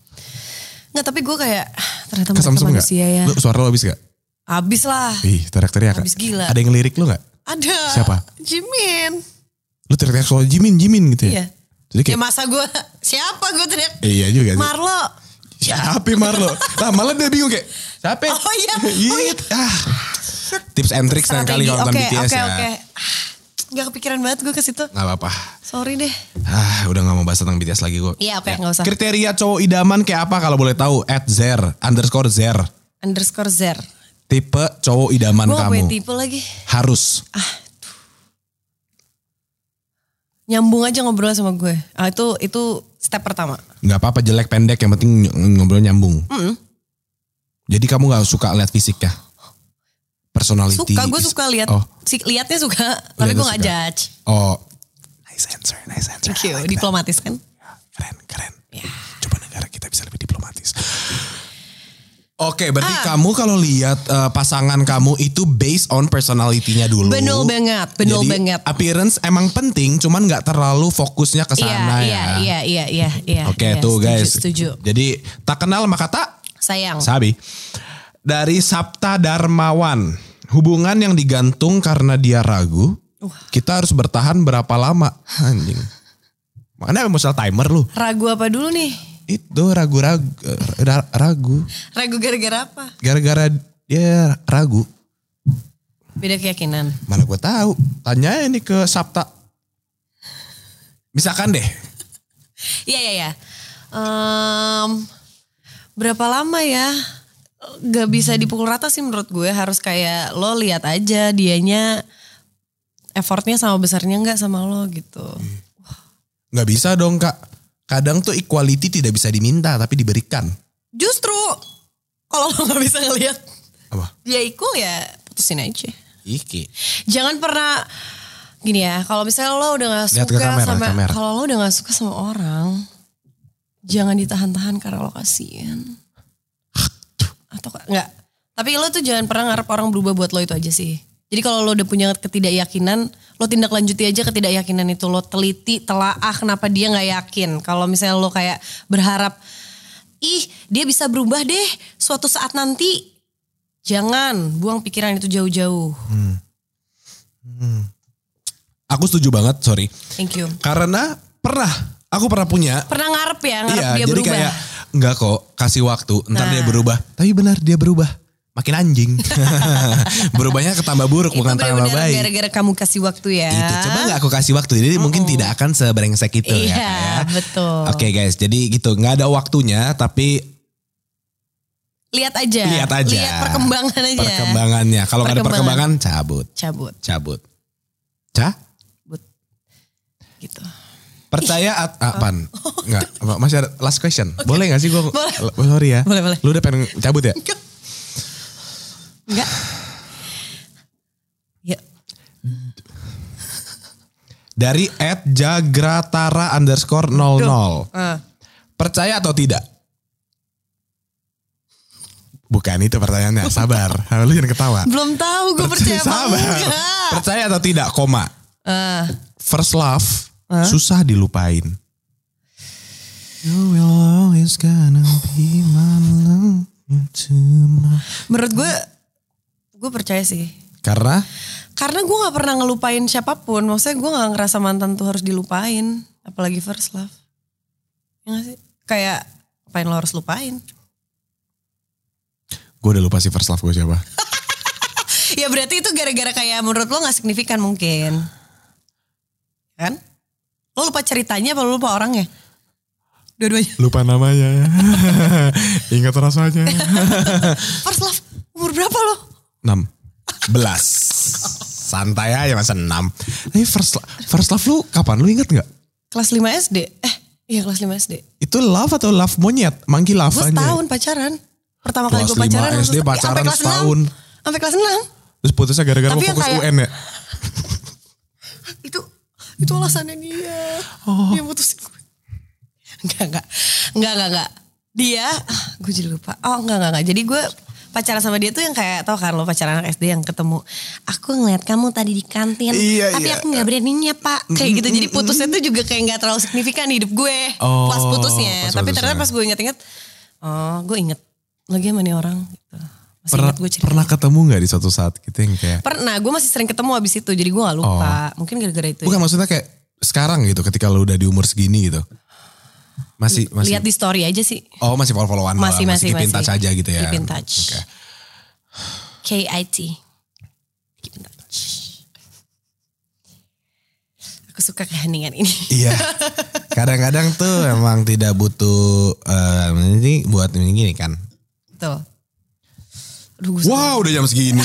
Speaker 2: Nggak, tapi gue kayak ah, ternyata mereka
Speaker 1: Kesamsem nggak?
Speaker 2: manusia ya.
Speaker 1: Lu suara lu habis gak?
Speaker 2: Habis lah.
Speaker 1: Ih teriak-teriak.
Speaker 2: Habis gila.
Speaker 1: Ada yang lirik lu gak?
Speaker 2: Ada.
Speaker 1: Siapa?
Speaker 2: Jimin.
Speaker 1: Lu teriak-teriak soal Jimin Jimin gitu ya?
Speaker 2: Iya.
Speaker 1: Jadi
Speaker 2: Ya
Speaker 1: kayak
Speaker 2: masa gue siapa gue teriak?
Speaker 1: iya juga. sih.
Speaker 2: Marlo.
Speaker 1: Siapa yang Marlo? Nah malah dia bingung kayak siapa?
Speaker 2: Oh iya, oh
Speaker 1: Iya. Ah. Tips and tricks lain kali
Speaker 2: Strategi.
Speaker 1: kalau nonton
Speaker 2: Oke,
Speaker 1: BTS
Speaker 2: Oke
Speaker 1: ya.
Speaker 2: oke. Ah, Nggak kepikiran banget gue ke situ.
Speaker 1: Gak apa-apa.
Speaker 2: Sorry deh.
Speaker 1: Ah, udah gak mau bahas tentang BTS lagi gue.
Speaker 2: Iya, oke, nggak usah.
Speaker 1: Kriteria cowok idaman kayak apa kalau boleh tahu? At Zer, underscore Zer.
Speaker 2: Underscore Zer.
Speaker 1: Tipe cowok idaman
Speaker 2: Gue
Speaker 1: Anu kamu.
Speaker 2: apa tipe lagi?
Speaker 1: Harus.
Speaker 2: Nyambung aja ngobrol sama gue. Ah, itu itu step pertama.
Speaker 1: Gak apa-apa jelek pendek yang penting ny- ngobrol nyambung. Jadi kamu gak suka lihat fisiknya? Personality.
Speaker 2: Suka gue
Speaker 1: is-
Speaker 2: suka lihat.
Speaker 1: Oh,
Speaker 2: Si, lihatnya suka,
Speaker 1: Lihatnya
Speaker 2: tapi gue nggak
Speaker 1: suka.
Speaker 2: judge.
Speaker 1: oh. Nice answer, nice answer.
Speaker 2: Thank you.
Speaker 1: I like that.
Speaker 2: Diplomatis kan?
Speaker 1: Keren, keren. Coba negara kita bisa lebih diplomatis. Oke, berarti
Speaker 2: Ah.
Speaker 1: kamu kalau lihat eh, pasangan kamu itu based on personality-nya dulu.
Speaker 2: Bener banget, bener
Speaker 1: Jadi,
Speaker 2: banget.
Speaker 1: Appearance emang penting, cuman nggak terlalu fokusnya ke
Speaker 2: Iya,
Speaker 1: sana ya.
Speaker 2: iya, iya, iya, iya, iya.
Speaker 1: Oke,
Speaker 2: iya,
Speaker 1: tuh
Speaker 2: setuju,
Speaker 1: guys.
Speaker 2: Setuju.
Speaker 1: Jadi tak kenal maka tak
Speaker 2: Sayang.
Speaker 1: Oh. sabi. Dari Sabta Darmawan, hubungan yang digantung karena dia ragu, kita harus bertahan berapa lama? Anjing. Mana emotional timer lu?
Speaker 2: Ragu apa dulu nih?
Speaker 1: itu ragu ragu ragu
Speaker 2: Ragu gara-gara apa?
Speaker 1: gara-gara dia ragu
Speaker 2: Beda keyakinan.
Speaker 1: mana gue tahu tanya ini ke Sabta misalkan deh
Speaker 2: Iya, iya, iya. Em, berapa lama ya? Gak bisa dipukul rata sih menurut gue. Harus kayak lo lihat aja dianya effortnya sama besarnya nggak sama lo gitu.
Speaker 1: Hmm. nggak bisa dong kak kadang tuh equality tidak bisa diminta tapi diberikan
Speaker 2: Justru kalau lo nggak bisa ngelihat
Speaker 1: apa
Speaker 2: dia equal ya putusin aja.
Speaker 1: iki
Speaker 2: jangan pernah gini ya kalau misalnya lo udah nggak
Speaker 1: Lihat
Speaker 2: suka
Speaker 1: ke kamera,
Speaker 2: sama
Speaker 1: kamera.
Speaker 2: kalau lo udah nggak suka sama orang jangan ditahan-tahan karena lo kasihan atau ka- nggak tapi lo tuh jangan pernah ngarep orang berubah buat lo itu aja sih jadi kalau lo udah punya ketidakyakinan lo tindak lanjuti aja ketidakyakinan itu lo teliti telaah kenapa dia nggak yakin kalau misalnya lo kayak berharap ih dia bisa berubah deh suatu saat nanti jangan buang pikiran itu jauh-jauh
Speaker 1: aku setuju banget sorry
Speaker 2: Thank you.
Speaker 1: karena pernah aku pernah punya
Speaker 2: Pernah ngarep ya, ngarep
Speaker 1: iya
Speaker 2: dia
Speaker 1: jadi
Speaker 2: berubah.
Speaker 1: kayak nggak kok kasih waktu ntar
Speaker 2: Nah.
Speaker 1: dia berubah tapi benar dia berubah makin anjing berubahnya ketambah buruk
Speaker 2: itu
Speaker 1: bukan tambah
Speaker 2: benar-benar
Speaker 1: baik
Speaker 2: gara-gara kamu kasih waktu ya.
Speaker 1: Itu coba nggak aku kasih waktu, jadi mungkin tidak akan sebrengsek itu ya.
Speaker 2: Iya,
Speaker 1: Kak, ya.
Speaker 2: betul.
Speaker 1: Oke guys, jadi gitu nggak ada waktunya, tapi
Speaker 2: Lihat aja.
Speaker 1: lihat aja.
Speaker 2: Lihat perkembangan aja.
Speaker 1: Perkembangannya, kalau nggak ada perkembangan
Speaker 2: Iya. Perkembangan.
Speaker 1: cabut,
Speaker 2: Cabut
Speaker 1: cabut. Ca?
Speaker 2: gitu.
Speaker 1: Percaya at apaan? Enggak, masih ada last question. Boleh gak sih gue?
Speaker 2: Oh. Boleh.
Speaker 1: Sorry ya.
Speaker 2: Boleh, boleh.
Speaker 1: Lu udah pengen cabut ya?
Speaker 2: Enggak. Ya,
Speaker 1: Dari at jagratara underscore 00.
Speaker 2: eh,
Speaker 1: Percaya atau tidak? Bukan itu pertanyaannya, sabar. Lu jangan ketawa.
Speaker 2: belum tahu gue percaya apa
Speaker 1: Sabar.
Speaker 2: enggak.
Speaker 1: Percaya atau tidak, koma.
Speaker 2: Eh,
Speaker 1: First love susah dilupain. You will always gonna be my love tomorrow.
Speaker 2: menurut gue gue percaya sih.
Speaker 1: Karena
Speaker 2: Karena gue nggak pernah ngelupain siapapun. Maksudnya gue nggak ngerasa mantan tuh harus dilupain, apalagi first love. Ya nggak sih? Kayak ngapain lo harus lupain?
Speaker 1: gue udah lupa sih first love gue siapa.
Speaker 2: Ya berarti itu gara-gara kayak menurut lo gak signifikan mungkin. Kan? Lo lupa ceritanya apa lo lupa orangnya? Dua-duanya.
Speaker 1: Lupa namanya. Ingat rasanya.
Speaker 2: First love, umur berapa lo?
Speaker 1: 6. Belas. Santai aja masa 6. Tapi first, lo- first love lu kapan? Lu inget gak?
Speaker 2: Kelas 5 SD. Eh, iya kelas 5 SD.
Speaker 1: Itu love atau love monyet? Manggil love
Speaker 2: Gue
Speaker 1: aja.
Speaker 2: setahun pacaran.
Speaker 4: pertama kali
Speaker 1: ya? Kelas
Speaker 4: gue pacaran
Speaker 1: lima SD
Speaker 4: langsung-
Speaker 2: Iya,
Speaker 1: pacaran
Speaker 4: sampai kelas
Speaker 1: setahun.
Speaker 4: enam. Sampai kelas 6.
Speaker 1: Terus putusnya gara-gara
Speaker 4: Tapi
Speaker 1: mau
Speaker 4: yang
Speaker 1: fokus
Speaker 4: kayak-
Speaker 1: UN ya?
Speaker 4: Itu itu alasannya dia.
Speaker 1: Oh.
Speaker 4: Dia putusin gue.
Speaker 2: Enggak, enggak. Enggak, enggak, enggak. Dia, ah, gue jadi lupa. Oh enggak, enggak, enggak. Jadi gue pacaran sama dia tuh yang kayak tau kan lo pacaran anak SD yang ketemu aku ngeliat kamu tadi di kantin
Speaker 1: Iya,
Speaker 2: tapi
Speaker 1: iya.
Speaker 2: aku nggak beraninya pak kayak gitu jadi putusnya tuh juga kayak nggak terlalu signifikan di hidup gue
Speaker 1: Oh,
Speaker 2: pas putusnya
Speaker 1: pas
Speaker 2: tapi ternyata
Speaker 1: putusnya.
Speaker 2: pas gue inget-inget oh gue inget lagi sama nih orang gitu masih
Speaker 1: Pernah,
Speaker 2: inget gue cerita
Speaker 1: pernah ketemu gak di suatu saat gitu yang kayak...
Speaker 2: pernah gue masih sering ketemu abis itu jadi gue nggak lupa mungkin gara-gara itu
Speaker 1: Oh.
Speaker 2: ya.
Speaker 1: Bukan maksudnya kayak sekarang gitu ketika lo udah di umur segini gitu. Masih, masih
Speaker 2: lihat di story aja sih
Speaker 1: Oh masih follow-followan doang,
Speaker 2: masih masih
Speaker 1: keep in
Speaker 2: masih
Speaker 1: touch aja gitu ya.
Speaker 2: keep in touch
Speaker 1: Oke.
Speaker 2: KIT keep in touch aku suka keheningan ini
Speaker 1: Iya. Kadang-kadang tuh emang tidak butuh eh, ini buat ini gini kan.
Speaker 2: tuh Aduh, gue
Speaker 1: Wow, udah jam segini.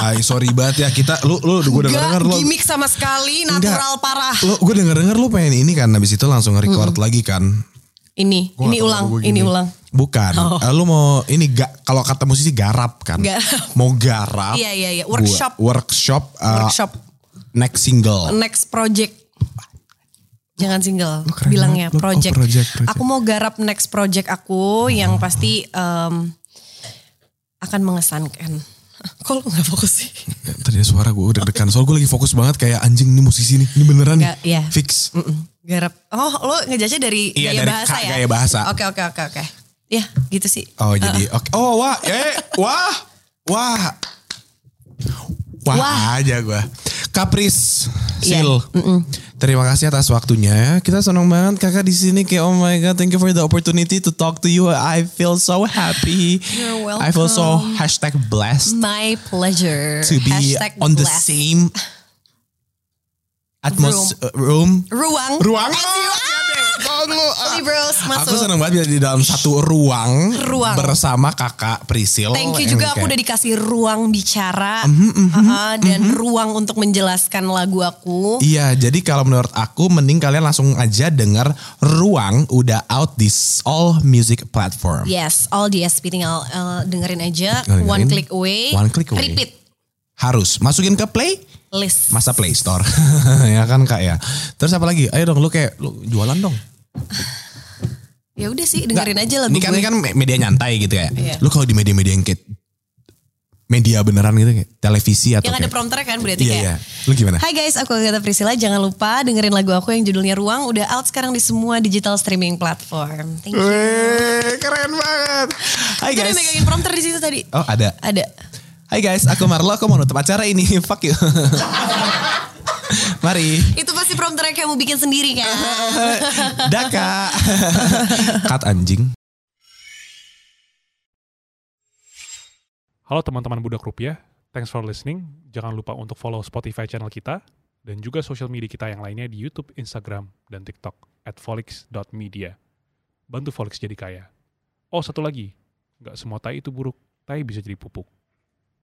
Speaker 1: Ay, sorry banget ya kita lu lu gue denger denger lu.
Speaker 2: gimmick sama sekali natural
Speaker 1: Enggak.
Speaker 2: parah
Speaker 1: Lu gue denger denger lu pengen ini kan habis itu langsung record lagi kan.
Speaker 2: ini
Speaker 1: Gua nggak tahu
Speaker 2: ini ulang
Speaker 1: kenapa gua
Speaker 2: ini
Speaker 1: gini.
Speaker 2: ulang
Speaker 1: Bukan.
Speaker 2: Oh.
Speaker 1: Eh, Lu mau ini ga, kalau kata musisi garap kan.
Speaker 2: Garap.
Speaker 1: Mau garap.
Speaker 2: Iya, iya, iya.
Speaker 1: Gua-
Speaker 2: Workshop.
Speaker 1: workshop. eh,
Speaker 2: workshop Mm.
Speaker 1: Next single.
Speaker 2: next project jangan single
Speaker 1: Lu keren
Speaker 2: bilangnya
Speaker 1: banget, lu. Oh,
Speaker 2: project.
Speaker 1: project, project.
Speaker 2: aku mau garap next project aku yang pasti em, akan mengesankan kok lu nggak fokus sih
Speaker 1: Tadi ada suara gue udah dekan. Soal gue lagi fokus banget kayak anjing ini musisi nih. Ini beneran nih.
Speaker 2: Nggak, iya.
Speaker 1: Fix.
Speaker 2: Mm-mm. garap oh lo ngejajah dari
Speaker 1: Iya,
Speaker 2: gaya
Speaker 1: dari
Speaker 2: bahasa
Speaker 1: ka-
Speaker 2: ya
Speaker 1: gaya bahasa.
Speaker 2: oke oke oke oke ya gitu sih
Speaker 1: Oh jadi oke. Oh wah, eh wah, wah, wah, aja gue. Kapris,
Speaker 2: Iya,
Speaker 1: Sil. Terima kasih atas waktunya. ya. Kita senang banget kakak di sini. Kayak oh my god, thank you for the opportunity to talk to you. I feel so happy.
Speaker 2: You're welcome.
Speaker 1: I feel so hashtag blessed
Speaker 2: my pleasure
Speaker 1: to be
Speaker 2: Hashtag
Speaker 1: on the
Speaker 2: blessed.
Speaker 1: same atmos uh, room.
Speaker 2: ruang
Speaker 1: Ruang.
Speaker 2: As you are. Libros masuk
Speaker 1: Aku senang banget bisa di dalam satu ruang,
Speaker 2: Ruang.
Speaker 1: bersama kakak Prisil.
Speaker 2: Thank you
Speaker 1: yang
Speaker 2: juga aku
Speaker 1: kayak-
Speaker 2: udah dikasih ruang bicara
Speaker 1: Mhm,
Speaker 2: uh-uh, dan ruang untuk menjelaskan lagu aku.
Speaker 1: Iya, jadi kalau menurut aku mending kalian langsung aja dengar Ruang udah out di all music platform.
Speaker 2: Yes, all DSP tinggal uh, dengerin aja
Speaker 1: Oh, Dengerin.
Speaker 2: one click away.
Speaker 1: One click away.
Speaker 2: Repeat
Speaker 1: Harus masukin ke Play
Speaker 2: list.
Speaker 1: masa Play Store. ya kan Kak ya. Terus apa lagi? Ayo dong lu kayak lu jualan dong.
Speaker 2: ya udah sih dengerin aja lagu
Speaker 1: Ini kan
Speaker 2: gue.
Speaker 1: ini kan me- media nyantai gitu ya.
Speaker 2: Iya.
Speaker 1: Lu kalau di media-media yang kayak media beneran gitu kayak televisi atau
Speaker 2: Yang ada
Speaker 1: kayak-
Speaker 2: prompternya kan berarti
Speaker 1: Iya,
Speaker 2: kayak.
Speaker 1: iya. Lu gimana?
Speaker 2: Hai guys, aku Agatha Priscilla. Jangan lupa dengerin lagu aku yang judulnya Ruang udah out sekarang di semua digital streaming platform. Thank you.
Speaker 1: Weh, keren banget. Hai
Speaker 2: Itu dia
Speaker 1: guys.
Speaker 2: megangin prompter di situ tadi.
Speaker 1: Oh, ada.
Speaker 2: Ada.
Speaker 1: Hai guys, aku Marlo, aku mau nutup acara ini. Fuck you. Mari.
Speaker 2: Itu pasti prompternya kayak mau bikin sendiri kan.
Speaker 1: Daka. Cut anjing.
Speaker 5: Halo teman-teman Budak Rupiah, thanks for listening. Jangan lupa untuk follow Spotify channel kita dan juga social media kita yang lainnya di YouTube, Instagram, dan TikTok at folix.media. Bantu Folix jadi kaya. Oh, satu lagi, nggak semua tai itu buruk, tai bisa jadi pupuk.